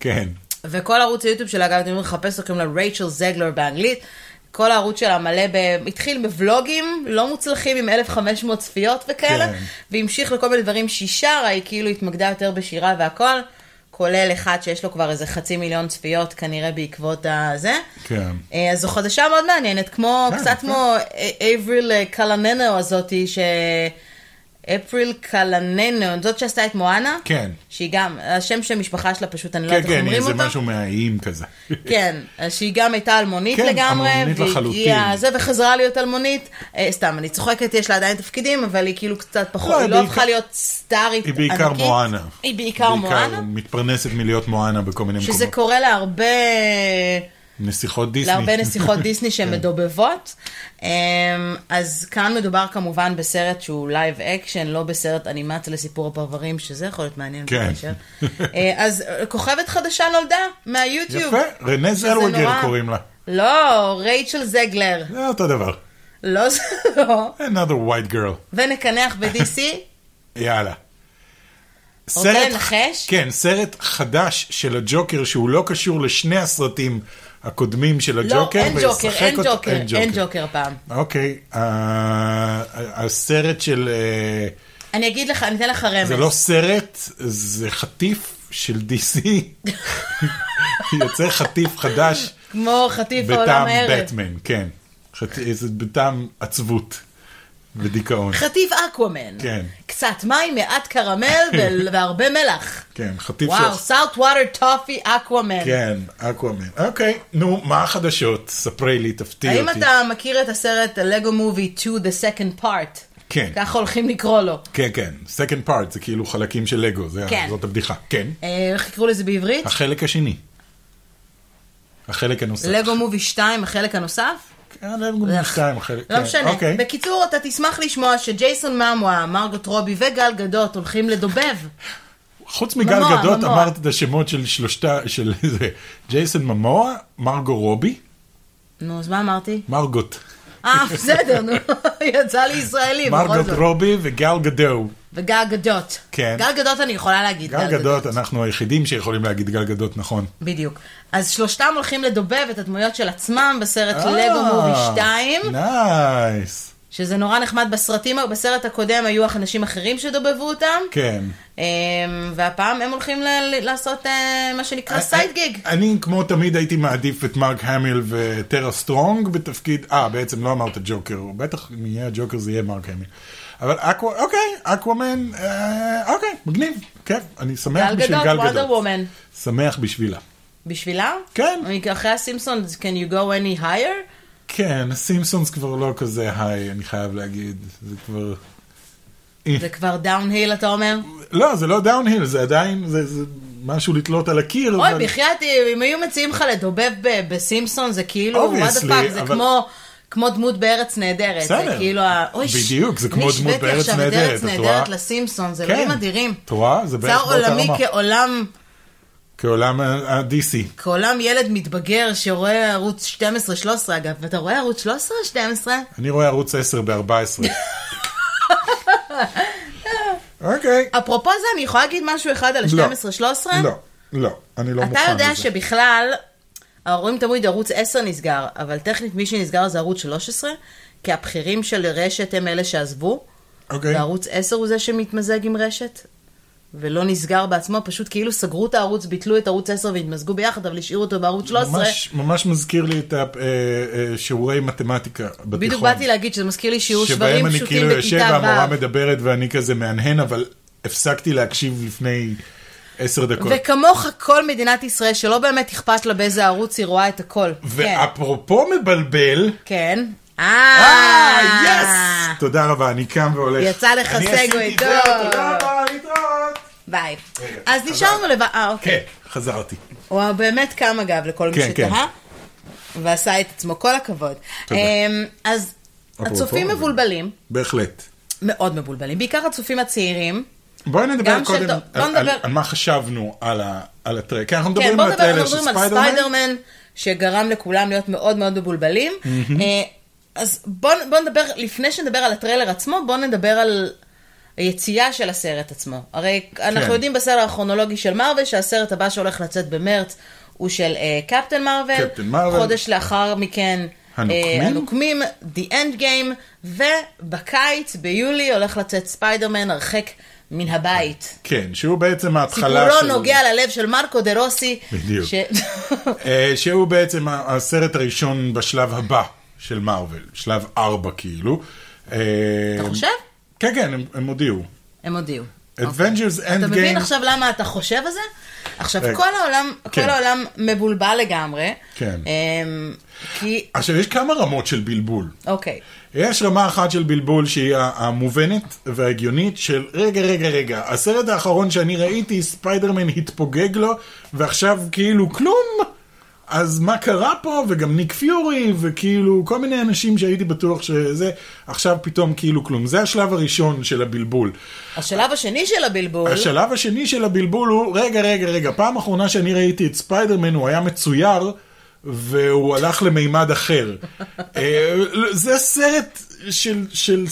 כן.
וכל ערוץ היוטיוב שלה, גם אתם יכולים לחפש, קוראים לה רייצ'ל זגלר באנגלית. כל הערוץ שלה מלא, ב... התחיל בוולוגים לא מוצלחים עם 1,500 צפיות וכאלה,
כן.
כן. והמשיך לכל מיני דברים שהיא שרה, היא כאילו התמקדה יותר בשירה והכל, כולל אחד שיש לו כבר איזה חצי מיליון צפיות כנראה בעקבות הזה.
כן.
אה, אז זו חדשה מאוד מעניינת, כמו,
כן,
קצת
כן.
כמו אה, אייבריל אה, קלננו הזאתי, ש... אפריל קלננו, זאת שעשתה את מואנה,
כן.
שהיא גם, השם של המשפחה שלה פשוט, אני לא
כן,
יודעת איך
כן,
אומרים
זה
אותה.
משהו מהאיים כזה.
כן, אז שהיא גם הייתה אלמונית
כן,
לגמרי,
אלמונית לחלוטין.
והגיעה זה וחזרה להיות אלמונית, אה, סתם, אני צוחקת, יש לה עדיין תפקידים, אבל היא כאילו קצת פחות,
לא,
היא
היא
לא
בעיקר-
הפכה להיות סטארית
היא בעיקר
ענקית.
מואנה.
היא בעיקר מואנה,
מתפרנסת מלהיות מואנה בכל מיני
שזה
מקומות.
קורה להרבה,
נסיכות דיסני.
להרבה נסיכות דיסני
כן.
שהן מדובבות. אמ, אז כאן מדובר כמובן בסרט שהוא לייב אקשן, לא בסרט אנימציה לסיפור הפרברים, שזה יכול להיות מעניין
כן.
בקשר. אה, אז אה, כוכבת חדשה נולדה מהיוטיוב.
יפה, רנה
שזה נורא.
זלווגר קוראים לה.
לא, רייצ'ל זגלר.
זה אותו דבר.
לא, זה לא.
another white girl.
ונקנח ב-DC.
יאללה.
רוצה לנחש?
כן, סרט חדש של הג'וקר שהוא לא קשור לשני הסרטים הקודמים של
לא,
הג'וקר.
אין ג'וקר,
וישחק
אין
אותו-
ג'וקר, אין ג'וקר פעם.
אוקיי, ה- הסרט של... אה,
אני אגיד לך, אני אתן לך רמז.
זה לא סרט, זה חטיף של DC. יוצא חטיף חדש
כמו חטיף העולם
בטעם
הערב.
בטמן, כן. חט- זה בטעם עצבות ודיכאון.
חטיף אקוואמן.
כן.
קצת מים, מעט קרמל ו- והרבה מלח.
כן, חטיף
וואו,
של...
סאוט וואטר טופי אקוואמן.
כן, אקוואמן. אוקיי, נו, מה החדשות? ספרי לי, תפתיע
האם
אותי.
אתה מכיר את הסרט לגו מובי 2 The Second Part?
כן.
ככה הולכים לקרוא לו.
כן, כן, second part, זה כאילו חלקים של לגו, זה-
כן.
זאת הבדיחה. כן,
אה, איך יקראו לזה בעברית?
החלק השני. החלק הנוסף.
לגו מובי 2, החלק הנוסף?
כן, לגו מושתיים, החלק...
לא
כן,
משנה.
אוקיי.
בקיצור, אתה תשמח לשמוע שג'ייסון ממואה, מרגוט רובי וגל גדות הולכים לדובב.
חוץ מגל
ממוע,
גדות
ממוע.
אמרת את השמות של שלושתה, של זה, ג'ייסון ממוע, מרגו רובי,
נו, אז מה אמרתי?
מרגוט,
אה, בסדר, נו, יצא לי ישראלי, בכל
מרגוט
זאת.
רובי וגל גדו.
וגל גדות.
כן.
גל גדות אני יכולה להגיד.
גל גדות, אנחנו היחידים שיכולים להגיד גל גדות נכון.
בדיוק. אז שלושתם הולכים לדובב את הדמויות של עצמם בסרט
אה,
לגו מובי 2,
נייס.
שזה נורא נחמד בסרטים, בסרט הקודם היו אנשים אחרים שדובבו אותם,
כן.
אמ, והפעם הם הולכים ל- ל- לעשות אה, מה שנקרא סייד גיג.
אני, כמו תמיד, הייתי מעדיף את מרק המיל וטרה סטרונג בתפקיד... אה, בעצם לא אמרת ג'וקר, בטח אם יהיה הג'וקר זה יהיה מרק המיל. אבל אקווה, אוקיי, אקוואמן, אה, אוקיי, מגניב, כיף, אני שמח
גל
אה, בשביל
גדות,
גל
וונדר
גדות.
וומן.
שמח בשבילה.
בשבילה?
כן.
אחרי הסימפסון, can you go any higher?
כן, הסימפסונס כבר לא כזה היי, אני חייב להגיד, זה כבר...
זה כבר דאון-היל, אתה אומר?
לא, זה לא דאון-היל, זה עדיין, זה, זה משהו לתלות על הקיר.
אוי,
אבל-
בחייאת, אם היו מציעים לך לדובב ב- בסימפסון, זה כאילו, what the
Obviously,
fuck, זה
אבל-
כמו... כמו דמות בארץ נהדרת, זה
בסדר.
כאילו, ה- אוי, ש-
בדיוק, זה כמו דמות בארץ
אני השוויתי עכשיו את
נהדרת,
ארץ
את רואה?
נהדרת לסימפסון, זה אלוהים
כן.
אדירים.
את רואה? זה
צר
בערך באותה
עולמי
רמה.
כעולם,
כעולם אה, ה-DC.
כעולם ילד מתבגר שרואה ערוץ 12-13 אגב, ואתה רואה ערוץ 13 או 12?
אני רואה ערוץ 10 ב-14. אוקיי.
אפרופו זה, אני יכולה להגיד משהו אחד על ה-12-13?
לא, לא, אני לא מוכן
אתה
לזה.
יודע שבכלל, ההורים תמיד ערוץ 10 נסגר, אבל טכנית מי שנסגר זה ערוץ 13, כי הבכירים של רשת הם אלה שעזבו,
אוקיי.
וערוץ 10 הוא זה שמתמזג עם רשת, ולא נסגר בעצמו, פשוט כאילו סגרו את הערוץ, ביטלו את ערוץ 10 והתמזגו ביחד, אבל השאירו אותו בערוץ 13.
ממש- ממש מזכיר לי את השיעורי מתמטיקה בתיכון.
בדיוק באתי להגיד שזה מזכיר לי שיעור שברים
שבהם אני
פשוטים
כאילו יושב
בכיתה
והמורה
ו'.
מדברת ואני כזה מהנהן, אבל הפסקתי להקשיב לפני עשר דקות.
וכמוך כל מדינת ישראל, שלא באמת אכפת לה באיזה ערוץ היא רואה את הכל. כן.
ואפרופו מבלבל,
כן.
אה,
אה,
יס! תודה רבה, אני קם והולך.
יצא לך
אני עשיתי
סגווי,
את זה,
טוב.
תודה רבה, להתראות.
ביי.
רגע,
אז
חזר.
נשארנו לבד, אה, אוקיי.
כן, חזרתי.
הוא באמת קם אגב לכל מי
כן, כן.
שתהה, ועשה את עצמו, כל הכבוד.
תודה.
אמ, אז
אפרופו,
הצופים
אבל-
מבולבלים,
בהחלט.
מאוד מבולבלים, בעיקר הצופים הצעירים.
בואי נדבר
גם של
קודם
דו-
על-
בוא
על-
נדבר-
על מה חשבנו על ה- על הטרק. כי אנחנו
כן,
מדברים
בואו
על
נדבר, אנחנו
הטריילר של
מדברים על
ספיידרמן.
ספיידרמן, שגרם לכולם להיות מאוד מאוד מבולבלים. אה, אז בואו בוא נדבר, לפני שנדבר על הטריילר עצמו, בואו נדבר על היציאה של הסרט עצמו. הרי אנחנו
כן.
יודעים בסדר הכרונולוגי של מארוול, שהסרט הבא שהולך לצאת במרץ הוא של אה, קפטן מארוול.
קפטן מארוול.
חודש לאחר מכן... אה,
הנוקמים.
הנוקמים, The End Game, ובקיץ, ביולי, הולך לצאת ספיידרמן הרחק מן הבית.
כן, שהוא בעצם ההתחלה
סיפורו נוגע ללב של מרקו דה רוסי.
בדיוק.
ש...
אה, שהוא בעצם ה- הסרט הראשון בשלב הבא של מארוול, שלב ארבע כאילו. אתה
אתה חושב?
כן, כן, הם- הם הודיעו.
הם הודיעו. אוקיי.
Avengers
אתה מבין
Endgame.
עכשיו למה אתה חושב על זה? עכשיו,
רגע.
כל העולם,
כן.
כל העולם מבולבל לגמרי.
כן.
אמ, כי,
עכשיו, יש כמה רמות של בלבול.
אוקיי.
יש רמה אחת של בלבול שהיא המובנת וההגיונית של רגע, רגע, רגע, הסרט האחרון שאני ראיתי, ספיידרמן התפוגג לו, ועכשיו כאילו כלום. אז מה קרה פה, וגם ניק פיורי, וכאילו כל מיני אנשים שהייתי בטוח שזה, עכשיו פתאום כאילו כלום. זה השלב הראשון של הבלבול.
השלב השני של הבלבול,
השלב השני של הבלבול הוא, רגע, רגע, רגע, פעם אחרונה שאני ראיתי את ספיידרמן הוא היה מצויר, והוא הלך למימד אחר. אה, זה סרט של, של,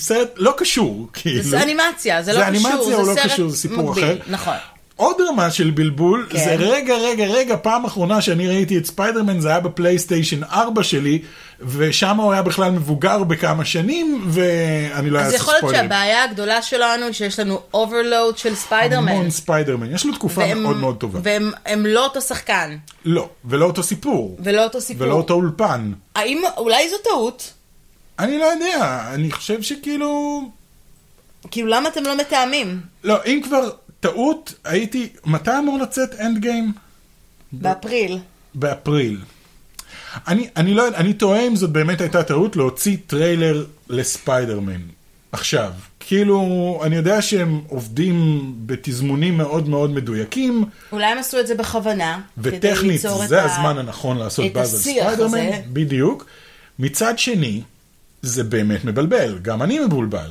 סרט לא קשור, כאילו.
זה אנימציה, זה לא קשור,
אנימציה
זה
או לא
סרט
קשור, זה סיפור
מקביל,
אחר. אה,
נכון.
עוד רמה של בלבול,
כן.
זה רגע, רגע, רגע, פעם אחרונה שאני ראיתי את ספיידרמן זה היה בפלייסטיישן 4 שלי, ושם הוא היה בכלל מבוגר בכמה שנים, ואני לא
אז
אעשה
יכול להיות
ספוילרים.
שהבעיה הגדולה שלנו היא שיש לנו overload של ספיידרמן.
המון ספיידרמן, יש לו תקופה
והם-
מאוד מאוד טובה.
והם הם לא אותו שחקן,
לא, ולא אותו סיפור,
ולא אותו סיפור.
ולא אותו אולפן.
האם, אולי זו טעות?
אני לא יודע, אני חושב שכאילו...
כאילו, למה אתם לא מתאמים?
לא, אם כבר טעות, הייתי... מתי אמור לצאת אנד גיים?
באפריל.
באפריל. אני, אני לא יודע, אני תוהה אם זאת באמת הייתה טעות להוציא טריילר לספיידרמן. עכשיו, כאילו, אני יודע שהם עובדים בתזמונים מאוד מאוד מדויקים,
אולי הם עשו את זה בכוונה. כדי
וטכנית
ליצור
זה
את ה-
הזמן הנכון לעשות
את
באז על
השיח
ספיידרמן,
הזה.
בדיוק. מצד שני, זה באמת מבלבל, גם אני מבולבל.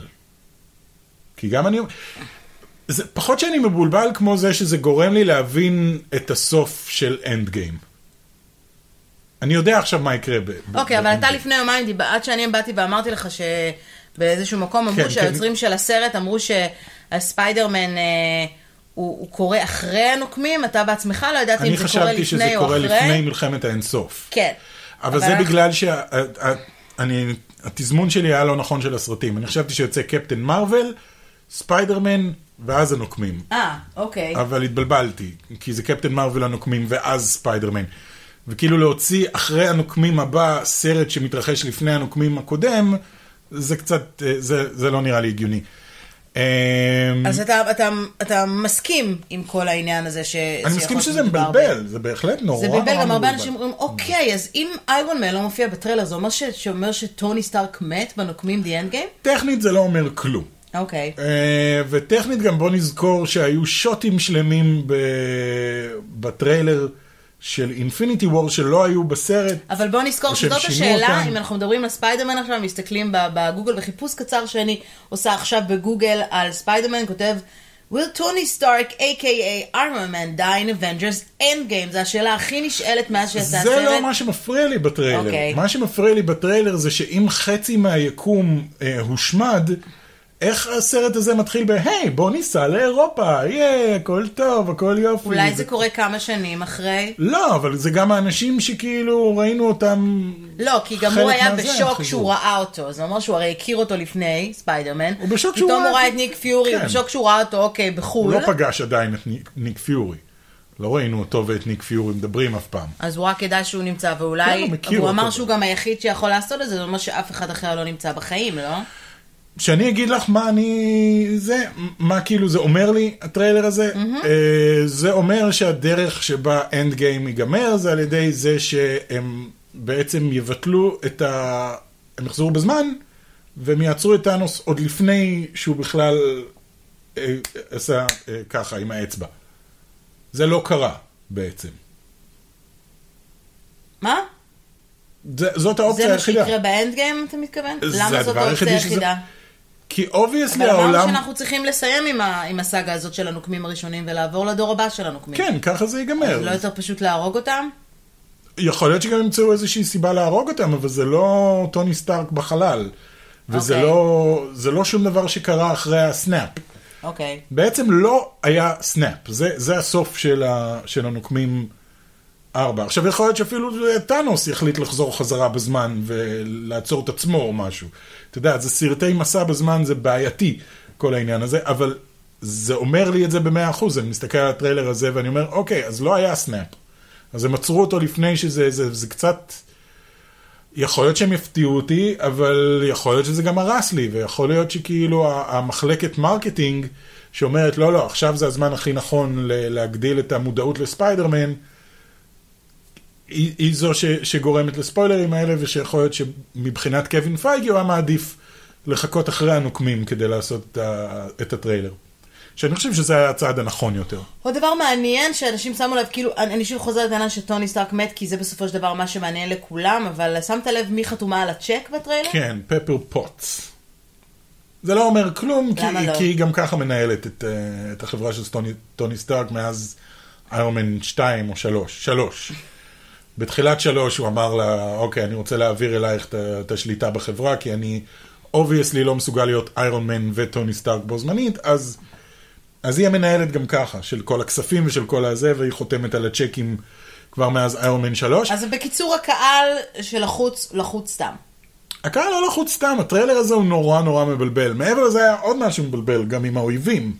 כי גם אני... זה פחות שאני מבולבל כמו זה שזה גורם לי להבין את הסוף של אנד גיים. אני יודע עכשיו מה יקרה ב... ב-
אוקיי, אבל
ב-
אתה לפני יומיים, דיב- עד שאני באתי ואמרתי לך שבאיזשהו מקום
כן,
אמרו
כן.
שהיוצרים של הסרט אמרו שהספיידרמן... אה, הוא, הוא קורא אחרי הנוקמים, אתה בעצמך לא ידעת אם
אני
זה קורה
חשבתי שזה
לפני או כן.
קורה
אחרי.
לפני מלחמת האינסוף.
כן.
אבל זה
אנחנו-
בגלל שאני התזמון שלי היה לא נכון של הסרטים. אני חשבתי שיוצא קפטן מרוויל, ספיידרמן, ואז הנוקמים.
אה, אוקיי.
אבל התבלבלתי, כי זה קפטן מרוויל הנוקמים ואז ספיידרמן. וכאילו להוציא אחרי הנוקמים הבא סרט שמתרחש לפני הנוקמים הקודם, זה קצת, אה, זה, זה לא נראה לי הגיוני. אמ,
אז אתה, אתה, אתה מסכים עם כל העניין הזה ש...
אני
שיכול
מסכים
להיות
שזה
מדובר ב-
מבלבל, זה בהחלט נורא
זה
נורא Mm.
בלבל, גם הרבה אנשים אומרים, אוקיי, אז אם איירון מן לא מופיע בטריילר, זה אומר ש- שאומר שטוני סטארק מת בנוקמים די אנד גיים?
טכנית זה לא אומר כלום.
אוקיי.
אה, וטכנית גם בוא נזכור שהיו שוטים שלמים ב... בטריילר של אינפיניטי וור שלא היו בסרט.
אבל בוא נזכור
או
שזאת
שהם שינו
השאלה,
אותם.
אם אנחנו מדברים על ספיידרמן עכשיו, מסתכלים ב- בגוגל, בחיפוש קצר שאני עושה עכשיו בגוגל על ספיידרמן, כותב, will Tony Stark, a.k.a. Iron Man, die in Avengers Endgame? זו השאלה הכי נשאלת מאז שיצא הסרט.
זה לא מה שמפריע לי בטריילר.
אוקיי.
מה שמפריע לי בטריילר זה שאם חצי מהיקום אה, הושמד, איך הסרט הזה מתחיל ב, היי, בוא ניסע לאירופה, יהיה, הכל טוב, הכל יופי.
אולי זה קורה כמה שנים אחרי.
לא, אבל זה גם האנשים שכאילו ראינו אותם...
לא, כי גם
חלק
הוא היה
מהזה,
בשוק
החיבור.
כשהוא ראה אותו. זה אומר שהוא הרי הכיר אותו לפני, ספיידרמן.
הוא בשוק שהוא
פתאום
ראה
הוא ראה את
אותו.
ניק פיורי, הוא
כן.
בשוק שהוא ראה אותו, אוקיי, בחו"ל.
הוא לא פגש עדיין את ניק, ניק פיורי. לא ראינו אותו ואת ניק פיורי מדברים אף פעם.
אז הוא רק ידע שהוא נמצא,
כן,
ואולי...
הוא מכיר
הוא
אותו.
אמר שהוא גם היחיד שיכול לעשות את זה, זה אומר שאף אחד אחר לא נמצא בחיים, לא?
שאני אגיד לך מה אני... זה, מה כאילו זה אומר לי, הטריילר הזה, mm-hmm. זה אומר שהדרך שבה אנד גיים ייגמר זה על ידי זה שהם בעצם יבטלו את ה... הם יחזרו בזמן, והם יעצרו את טאנוס עוד לפני שהוא בכלל אה, עשה אה, ככה עם האצבע. זה לא קרה בעצם.
מה?
זה, זאת
זה
האופציה
מה
היחידה.
שיקרה באנד גיים, אתה מתכוון?
זה
למה זאת
הדבר
האופציה
היחידי שזה-
היחידה?
כי אובייסלי
אבל אמרנו
העולם...
שאנחנו צריכים לסיים עם ה- עם הסאגה הזאת של הנוקמים הראשונים ולעבור לדור הבא של הנוקמים.
כן, ככה זה ייגמר.
אז לא יותר פשוט להרוג אותם?
יכול להיות שגם ימצאו איזושהי סיבה להרוג אותם, אבל זה לא טוני סטארק בחלל. וזה
אוקיי.
לא, זה לא שום דבר שקרה אחרי הסנאפ.
אוקיי.
בעצם לא היה סנאפ, זה, זה הסוף של, ה, של הנוקמים 4. עכשיו יכול להיות שאפילו אה, טאנוס יחליט לחזור חזרה בזמן ולעצור את עצמו או משהו. אתה יודע, זה סרטי מסע בזמן, זה בעייתי, כל העניין הזה, אבל זה אומר לי את זה במאה אחוז, אני מסתכל על הטריילר הזה ואני אומר, אוקיי, אז לא היה סנאפ. אז הם עצרו אותו לפני שזה, זה, זה קצת... יכול להיות שהם יפתיעו אותי, אבל יכול להיות שזה גם הרס לי, ויכול להיות שכאילו ה- המחלקת מרקטינג שאומרת, לא, לא, עכשיו זה הזמן הכי נכון ל- להגדיל את המודעות לספיידרמן, היא, היא זו ש- שגורמת לספוילרים האלה, ושיכול להיות שמבחינת קווין פייגי הוא היה מעדיף לחכות אחרי הנוקמים כדי לעשות את, ה- את הטריילר. שאני חושב שזה היה הצעד הנכון יותר.
עוד דבר מעניין שאנשים שמו לב, כאילו, אני אני שוב חוזרת לעניין שטוני סטארק מת, כי זה בסופו של דבר מה שמעניין לכולם, אבל שמת לב מי חתומה על הצ'ק בטריילר?
כן, פפר פוטס. זה לא אומר כלום, כי,
למה לא?
כי היא גם ככה מנהלת את, אה, את החברה של טוני, טוני סטארק מאז איירמן 2 או 3. 3. בתחילת 3 הוא אמר לה, אוקיי, אני רוצה להעביר אלייך את ה- את השליטה בחברה, כי אני אובייסלי לא מסוגל להיות איירון מן וטוני סטארק בו זמנית, אז, אז היא המנהלת גם ככה, של כל הכספים ושל כל הזה, והיא חותמת על הצ'קים כבר מאז איירון מן 3.
אז בקיצור, הקהל של החוץ, לחוץ סתם.
הקהל לא לחוץ סתם, הטריילר הזה הוא נורא נורא מבלבל. מעבר לזה היה עוד משהו מבלבל, גם עם האויבים.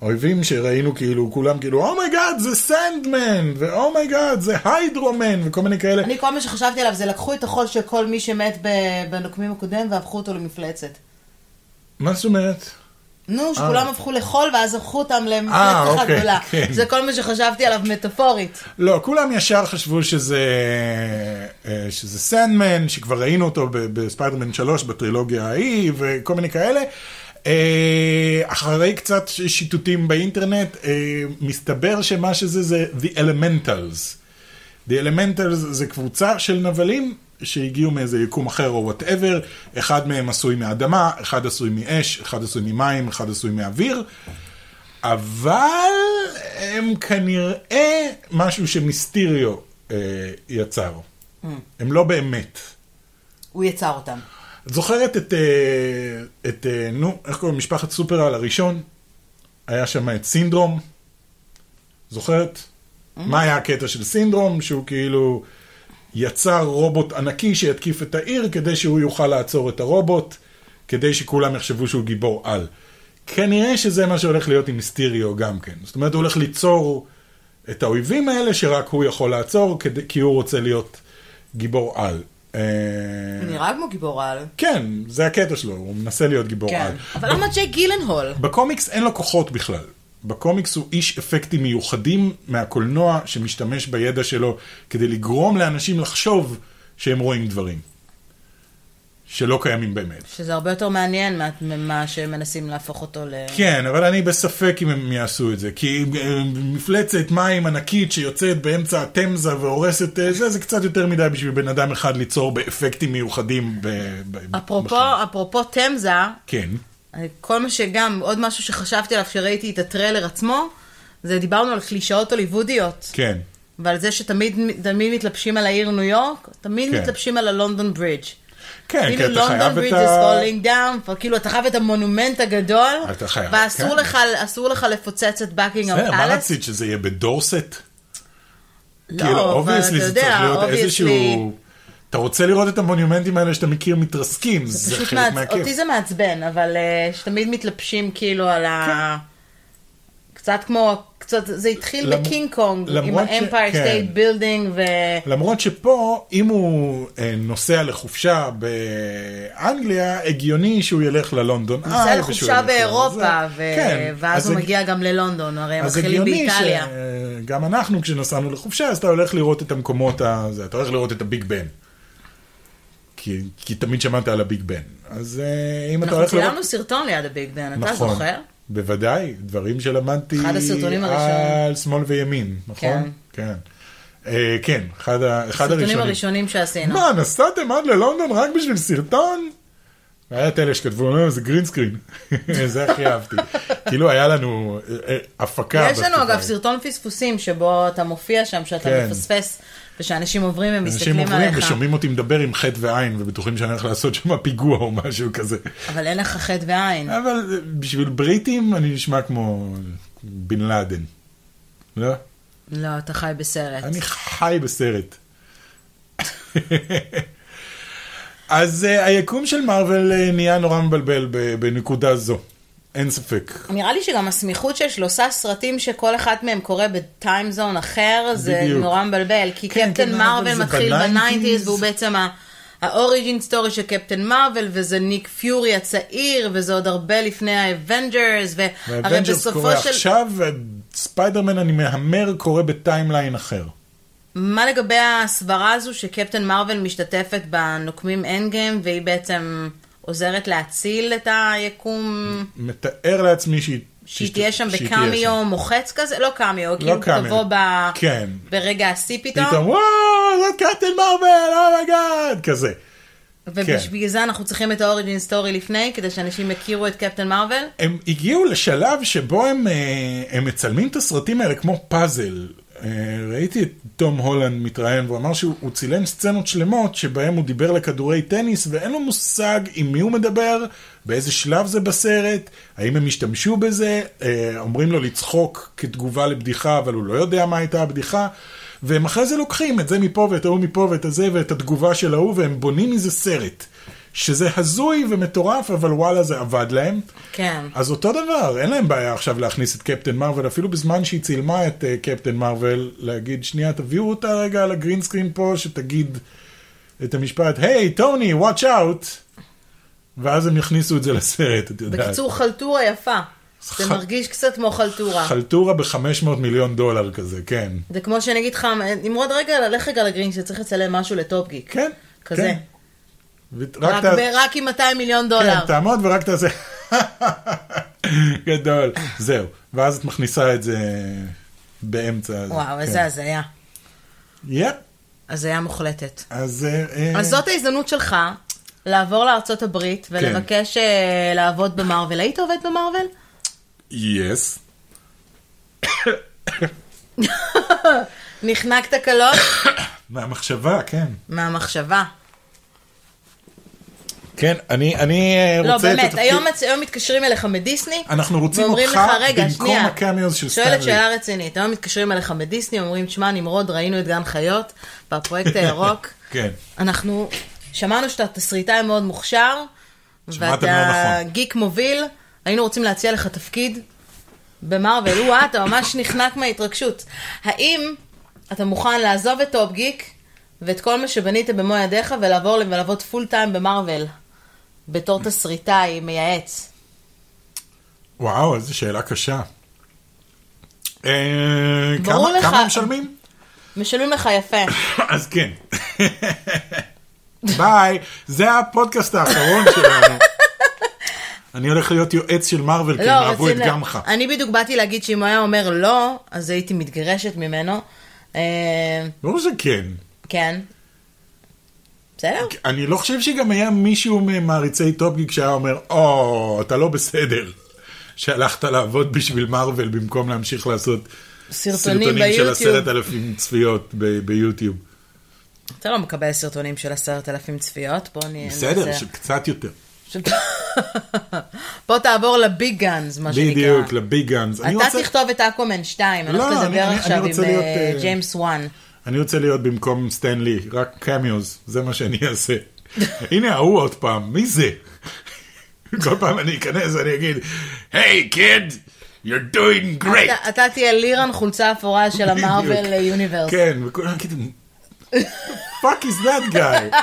האויבים שראינו כאילו, כולם כאילו, אומייגאד זה סנדמן, ואומייגאד זה היידרומן, וכל מיני כאלה.
אני, כל מה שחשבתי עליו זה לקחו את החול של כל מי שמת ב- בנוקמים הקודם והפכו אותו למפלצת.
מה זאת אומרת?
נו, שכולם הפכו לחול ואז הפכו אותם
אה,
למפלצת אחת
אוקיי,
גדולה.
כן.
זה כל מה שחשבתי עליו מטאפורית.
לא, כולם ישר חשבו שזה, אה, שזה סנדמן, שכבר ראינו אותו ב- בספיידרמן 3 בטרילוגיה ההיא, וכל מיני כאלה. אה, אחרי קצת ש- שיטוטים באינטרנט, אה, מסתבר שמה שזה זה The Elementals. The Elementals זה קבוצה של נבלים שהגיעו מאיזה יקום אחר או וואטאבר, אחד מהם עשוי מאדמה, אחד עשוי מאש, אחד עשוי ממים, אחד עשוי מאוויר. אבל הם כנראה משהו שמיסטיריו אה, יצר. הם לא באמת.
הוא יצר אותם.
את זוכרת את, אה, את אה, נו, איך קוראים? משפחת סופרל הראשון? היה שם את סינדרום. זוכרת? מה היה הקטע של סינדרום? שהוא כאילו יצר רובוט ענקי שיתקיף את העיר כדי שהוא יוכל לעצור את הרובוט, כדי שכולם יחשבו שהוא גיבור על. כנראה שזה מה שהולך להיות עם מיסטיריו גם כן. זאת אומרת, הוא הולך ליצור את האויבים האלה שרק הוא יכול לעצור, כדי, כי הוא רוצה להיות גיבור על. אה,
הוא נראה כמו גיבור על.
כן, זה הקטע שלו, הוא מנסה להיות גיבור
כן.
על.
אבל למה ג'ק גילנהול?
בקומיקס אין לו כוחות בכלל. בקומיקס הוא איש אפקטים מיוחדים מהקולנוע שמשתמש בידע שלו כדי לגרום לאנשים לחשוב שהם רואים דברים. שלא קיימים באמת.
שזה הרבה יותר מעניין מה- ממה שמנסים להפוך אותו ל...
כן, אבל אני בספק אם הם יעשו את זה, כי אה, מפלצת מים ענקית שיוצאת באמצע התמזה והורסת אה, זה, זה קצת יותר מדי בשביל בן אדם אחד ליצור באפקטים מיוחדים. ב- ב- בחיים.
אפרופו, אפרופו תמזה,
כן.
כל מה שגם, עוד משהו שחשבתי עליו כשראיתי את הטריילר עצמו, זה דיברנו על קלישאות הוליוודיות.
כן.
ועל זה שתמיד תמיד מתלבשים על העיר ניו יורק, תמיד
כן.
מתלבשים על הלונדון ברידג'.
כן, כי
כאילו לונדון
אתה חייב את
ברידג' is
ה...
falling down, כבר כאילו אתה חייב את המונומנט הגדול,
אתה חייב,
ואסור
כן.
לך, אסור לך לפוצץ את בקינגהאם
בסדר, כן, מה
פלאס.
רצית, שזה יהיה בדורסט? כאילו,
לא, אבל אתה
זה צריך
יודע,
להיות
אובייסלי,
איזשהו... אתה רוצה לראות את המונומנטים האלה שאתה מכיר מתרסקים,
זה
זה
פשוט
חלק
מעצ...
מהכיף.
אותי זה מעצבן, אבל אה, שתמיד מתלבשים כאילו על ה... קצת כמו, קצת, זה התחיל
כן. למ-
בקינג קונג, עם
למרות ש-
ה-Empire
כן. לא,
State Building ו...
למרות שפה, אם הוא אה, נוסע לחופשה באנגליה, הגיוני שהוא ילך ללונדון.
הוא נוסע
איי, ושהוא
לחופשה
ילך
באירופה,
לזה.
ו...
כן,
ואז
אז
הוא
הג-
מגיע גם ללונדון, הרי הם
אז
מתחילים
הגיוני
באיטליה.
שגם אנחנו, כשנסענו לחופשה, אז אתה הולך לראות את המקומות, ה... זה, אתה הולך לראות את הביג בן. כי, כי תמיד שמעת על הביג בן. אז אה, אם אתה
אנחנו
הולך נכון. לראות...
צילמנו סרטון ליד הביג בן, אתה זוכר?
בוודאי, דברים שלמדתי
אחד הסרטונים הראשונים.
על שמאל וימין,
כן.
נכון? כן. אה, כן, אחד ה- אחד
הסרטונים
הראשונים.
הראשונים אה. שעשינו.
מה, נסעתם עד ללונדון רק בשביל סרטון? היה את אלה שכתבו, "אה, זה גרינסקרין. זה הכי אהבתי. כאילו היה לנו אה, אה, הפקה.
יש לנו
בתקופה
אגב
ההיא.
סרטון פספוסים שבו אתה מופיע שם, שאתה
כן.
מפספס, ושאנשים עוברים
אנשים
ומסתכלים
עוברים
עליך.
ושומעים אותי מדבר עם חטא ועין ובטוחים שאני הולך לעשות שם פיגוע או משהו כזה.
אבל אין לך חטא ועין.
אבל אה, בשביל בריטים אני נשמע כמו בן לאדן. לא?
לא, אתה חי בסרט.
אני חי בסרט. אז אה, היקום של מארוול אה, נהיה נורא מבלבל ב- בנקודה זו, אין ספק.
נראה לי שגם הסמיכות של שלושה סרטים שכל אחד מהם קורה בטיימזון אחר, זה
בדיוק.
נורא מבלבל, כי
כן,
קפטן
כן,
מרוויל
אבל זה
מתחיל
ב- 90s.
בניינטיז, והוא בעצם ה- האוריג'ין סטורי של קפטן מרוויל, וזה ניק פיורי הצעיר, וזה עוד הרבה לפני האבנג'רס, והרי
והאבנג'רס קורה
בסופו של...
עכשיו, ספיידרמן אני מהמר קורה בטיימליין אחר.
מה לגבי הסברה הזו שקפטן מרוויל משתתפת בנוקמים אנד גיים, והיא בעצם עוזרת להציל את היקום?
מתאר לעצמי שהיא...
שהיא
שהיא
תהיה שם
שהיא
בקמיו מוחץ כזה, לא קמיו, כאילו
קמיו.
תבוא ב-
כן.
ברגע השיא
שם.
פתאום,
פתאום וואו, זאת קפטן מרוויל, אומייגאד, כזה. כן.
ובגלל זה אנחנו צריכים את האוריג'ין סטורי לפני, כדי שאנשים יכירו את קפטן מרוויל.
הם הגיעו לשלב שבו הם, אה, הם מצלמים את הסרטים האלה כמו פאזל. אה, ראיתי את תום הולנד מתראיין, והוא אמר שהוא הוא צילם סצנות שלמות שבהם הוא דיבר לכדורי טניס, ואין לו מושג עם מי הוא מדבר, באיזה שלב זה בסרט, האם הם השתמשו בזה, אה, אומרים לו לצחוק כתגובה לבדיחה, אבל הוא לא יודע מה הייתה הבדיחה. והם אחרי זה לוקחים את זה מפה ואת ההוא מפה ואת הזה ואת התגובה של ההוא, והם בונים מזה סרט. שזה הזוי ומטורף, אבל וואלה זה עבד להם.
כן.
אז אותו דבר, אין להם בעיה עכשיו להכניס את קפטן מרוויל, אפילו בזמן שהיא צילמה את אה, קפטן מרוויל, להגיד, שנייה, תביאו אותה רגע על הגרינסקרין פה, שתגיד את המשפט, היי, טוני, watch out, ואז הם יכניסו את זה לסרט, את יודעת.
בקיצור, חלטורה יפה. זה
ח-
מרגיש קצת כמו חלטורה.
חלטורה ב-500 מיליון דולר כזה, כן.
זה כמו שאני אגיד לך, נמרוד רגע, לך רגע לגרין שצריך לצלם משהו לטופגיק.
כן,
כזה.
כן. ו-
רק
רק ת-
ב- רק עם 200 מיליון דולר.
כן, תעמוד ורק תעשה... גדול. זהו. ואז את מכניסה את זה באמצע.
וואו,
כן.
איזה הזיה.
יפ.
הזיה מוחלטת.
אז... אה, אה, כן.
אז זאת ההזדמנות שלך לעבור לארצות הברית ולבקש אה, לעבוד במרוויל. היית עובד במרוויל?
יס.
נחנקת קלות
מהמחשבה, כן.
מהמחשבה.
כן, אני, אני אה, רוצה...
לא,
את
באמת,
התפקיד-
היום מצ- היום מתקשרים אליך מדיסני,
אנחנו רוצים
ואומרים
אותך
לך, רגע,
במקום
שנייה,
הקמיוז של סטנלי.
שואלת שאלה רצינית, היום מתקשרים אליך מדיסני, אומרים, שמע, נמרוד, ראינו את גן חיות, בפרויקט הירוק,
כן.
אנחנו שמענו שאתה תסריטאי מאוד מוכשר,
שמעתם
ואתה
לא נכון.
גיק מוביל, היינו רוצים להציע לך תפקיד במרוויל, וואה, אתה ממש נחנק מההתרגשות. האם אתה מוכן לעזוב את טופ גיק ואת כל מה שבנית במו ידיך ולעבור ולעבוד פול טיים במרוויל, בתור תסריטאי מייעץ?
וואו, איזו שאלה קשה. אה,
ברור
כמה,
לך.
כמה משלמים?
משלמים לך יפה.
אז כן. ביי, זה הפודקאסט האחרון שלנו. אני הולך להיות יועץ של מארוול, כי הם אהבו את
רוצים ל-
גמך.
לא, אני בדיוק באתי להגיד שאם הוא היה אומר לא, אז הייתי מתגרשת ממנו. אה,
ברור שכן.
כן. בסדר?
אני לא חושב שגם היה מישהו ממעריצי טופגיק שהיה אומר, או, אתה לא בסדר, שהלכת לעבוד בשביל מארוול במקום להמשיך לעשות
סרטונים
סרטונים של
ביוטיוב.
עשרת אלפים צפיות ב- ביוטיוב.
אתה לא מקבל סרטונים של עשרת אלפים צפיות, בוא נהיה...
בסדר,
נעשה-
של קצת יותר.
של- בוא תעבור לביג גאנז, מה שנקרא.
בדיוק, לביג גאנז. אני
אתה
רוצה-
תכתוב את אקומן 2,
לא,
אנחנו
אני-
נדבר
אני-
עכשיו
אני
עם
רוצה להיות,
אה,
אה,
ג'יימס וואן.
אני רוצה להיות במקום סטנלי, רק קמיוז, זה מה שאני אעשה. הנה ההוא עוד פעם, מי זה? כל פעם אני אכנס, אני אגיד, היי קיד, you're doing great.
אתה- אתה תהיה לירן חולצה אפורה של המרוויל
בדיוק.
יוניברס.
כן, וכולם כאילו, fuck is that guy?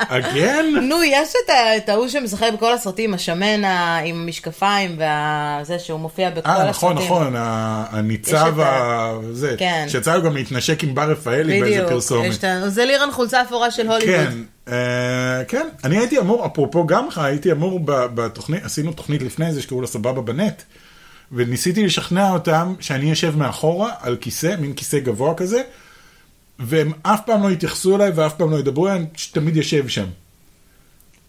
again?
נו, יש את ה- את ההוא שמשחק בכל הסרטים, השמן ה- עם המשקפיים וזה שהוא מופיע בכל הסרטים.
אה, נכון, נכון, ה-
יש את
הניצב
ה-
ה... זה,
כן.
שיצא לו גם להתנשק עם בר רפאלי באיזה
בדיוק.
פרסומת.
יש את ה- זה לירן חולצה אפורה של הוליווד.
כן, אה, כן, אני הייתי אמור, אפרופו גם לך, הייתי אמור ב- בתוכנית, עשינו תוכנית לפני זה שקראו לה סבבה בנט, וניסיתי לשכנע אותם שאני אשב מאחורה על כיסא, מין כיסא גבוה כזה, והם אף פעם לא התייחסו אליי ואף פעם לא ידברו אליי, אני פשוט תמיד יושב שם.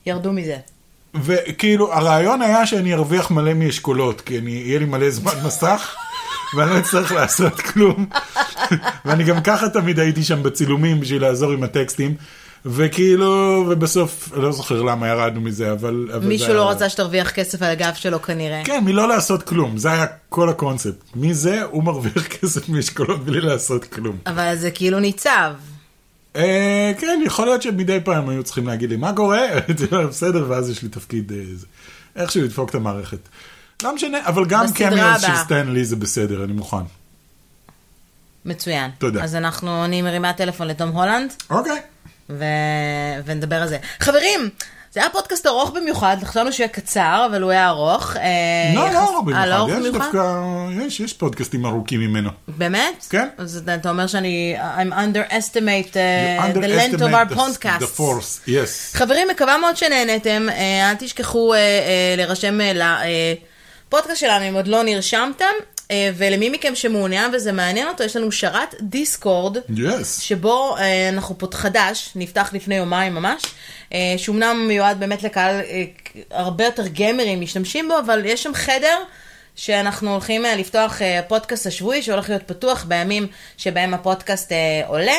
ירדו מזה.
וכאילו, הרעיון היה שאני ארוויח מלא מאשכולות, כי אני, יהיה לי מלא זמן מסך, ואני לא אצטרך לעשות כלום. ואני גם ככה תמיד הייתי שם בצילומים בשביל לעזור עם הטקסטים. וכאילו, ובסוף, לא זוכר למה ירדנו מזה, אבל... אבל זה
מישהו
היה-
לא רצה שתרוויח כסף על הגב שלו כנראה.
כן, מלא לעשות כלום, זה היה כל הקונספט. מזה הוא מרוויח כסף מאשכולות בלי לעשות כלום.
אבל זה כאילו ניצב.
אה, כן, יכול להיות שמדי פעם היו צריכים להגיד לי, מה קורה? הייתי אומר, בסדר, ואז יש לי תפקיד אה, זה. איכשהו לדפוק את המערכת. לא משנה, אבל גם
בסדרה
קמיוז של
הבאה.
סטנלי זה בסדר, אני מוכן.
מצוין.
תודה.
אז אנחנו, אני מרימה טלפון לתום הולנד,
אוקיי.
ו... ונדבר על זה. חברים! זה היה פודקאסט ארוך במיוחד, חשבנו שהוא יהיה קצר, אבל הוא היה ארוך. אה,
לא,
יחס-
לא ארוך
אה, לא
במיוחד,
ארוך
יש
במיוחד?
דווקא, יש, יש פודקאסטים ארוכים ממנו.
באמת?
כן.
אז אתה אתה אומר שאני, I'm underestimate
You
uh, the length of
underestimate
our
the- The
podcast.
force, yes.
חברים, מקווה מאוד שנהנתם. אה, אל תשכחו אה, אה, להירשם אה, לפודקאסט שלנו אם עוד לא נרשמתם. אה, ולמי מכם שמעוניין וזה מעניין אותו, יש לנו שרת דיסקורד.
Yes.
שבו אה, אנחנו פות חדש, נפתח לפני יומיים ממש, אה, שאומנם מיועד באמת לקהל אה, הרבה יותר גמרים משתמשים בו, אבל יש שם חדר שאנחנו הולכים אה, לפתוח אה, פודקאסט השבועי שהולך להיות פתוח בימים שבהם הפודקאסט אה, עולה.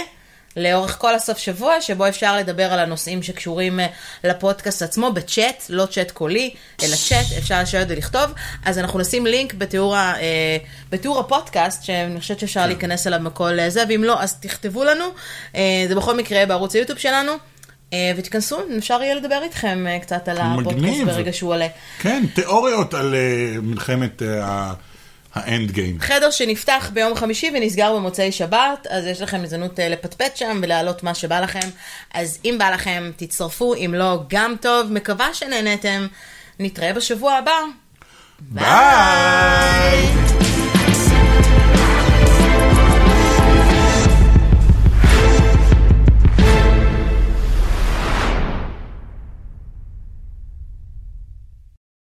לאורך כל הסוף שבוע, שבו אפשר לדבר על הנושאים שקשורים אה, לפודקאסט עצמו בצ'אט, לא צ'אט קולי, אלא צ'אט, אפשר לשבת ולכתוב. אז אנחנו נשים לינק בתיאור, ה, אה, בתיאור הפודקאסט, שאני חושבת שאפשר להיכנס אליו מכל אה, זה, ואם לא, אז תכתבו לנו. אה, זה בכל מקרה בערוץ היוטיוב שלנו. אה, ותיכנסו, אפשר יהיה לדבר איתכם אה, קצת על הפודקאסט
מגניב.
ברגע שהוא עולה.
כן, תיאוריות על אה, מלחמת האנד גיים.
חדר שנפתח ביום חמישי ונסגר במוצאי שבת, אז יש לכם הזדמנות אה, לפטפט שם ולהעלות מה שבא לכם. אז אם בא לכם, תצטרפו, אם לא, גם טוב. מקווה שנהנתם. נתראה בשבוע הבא.
ביי!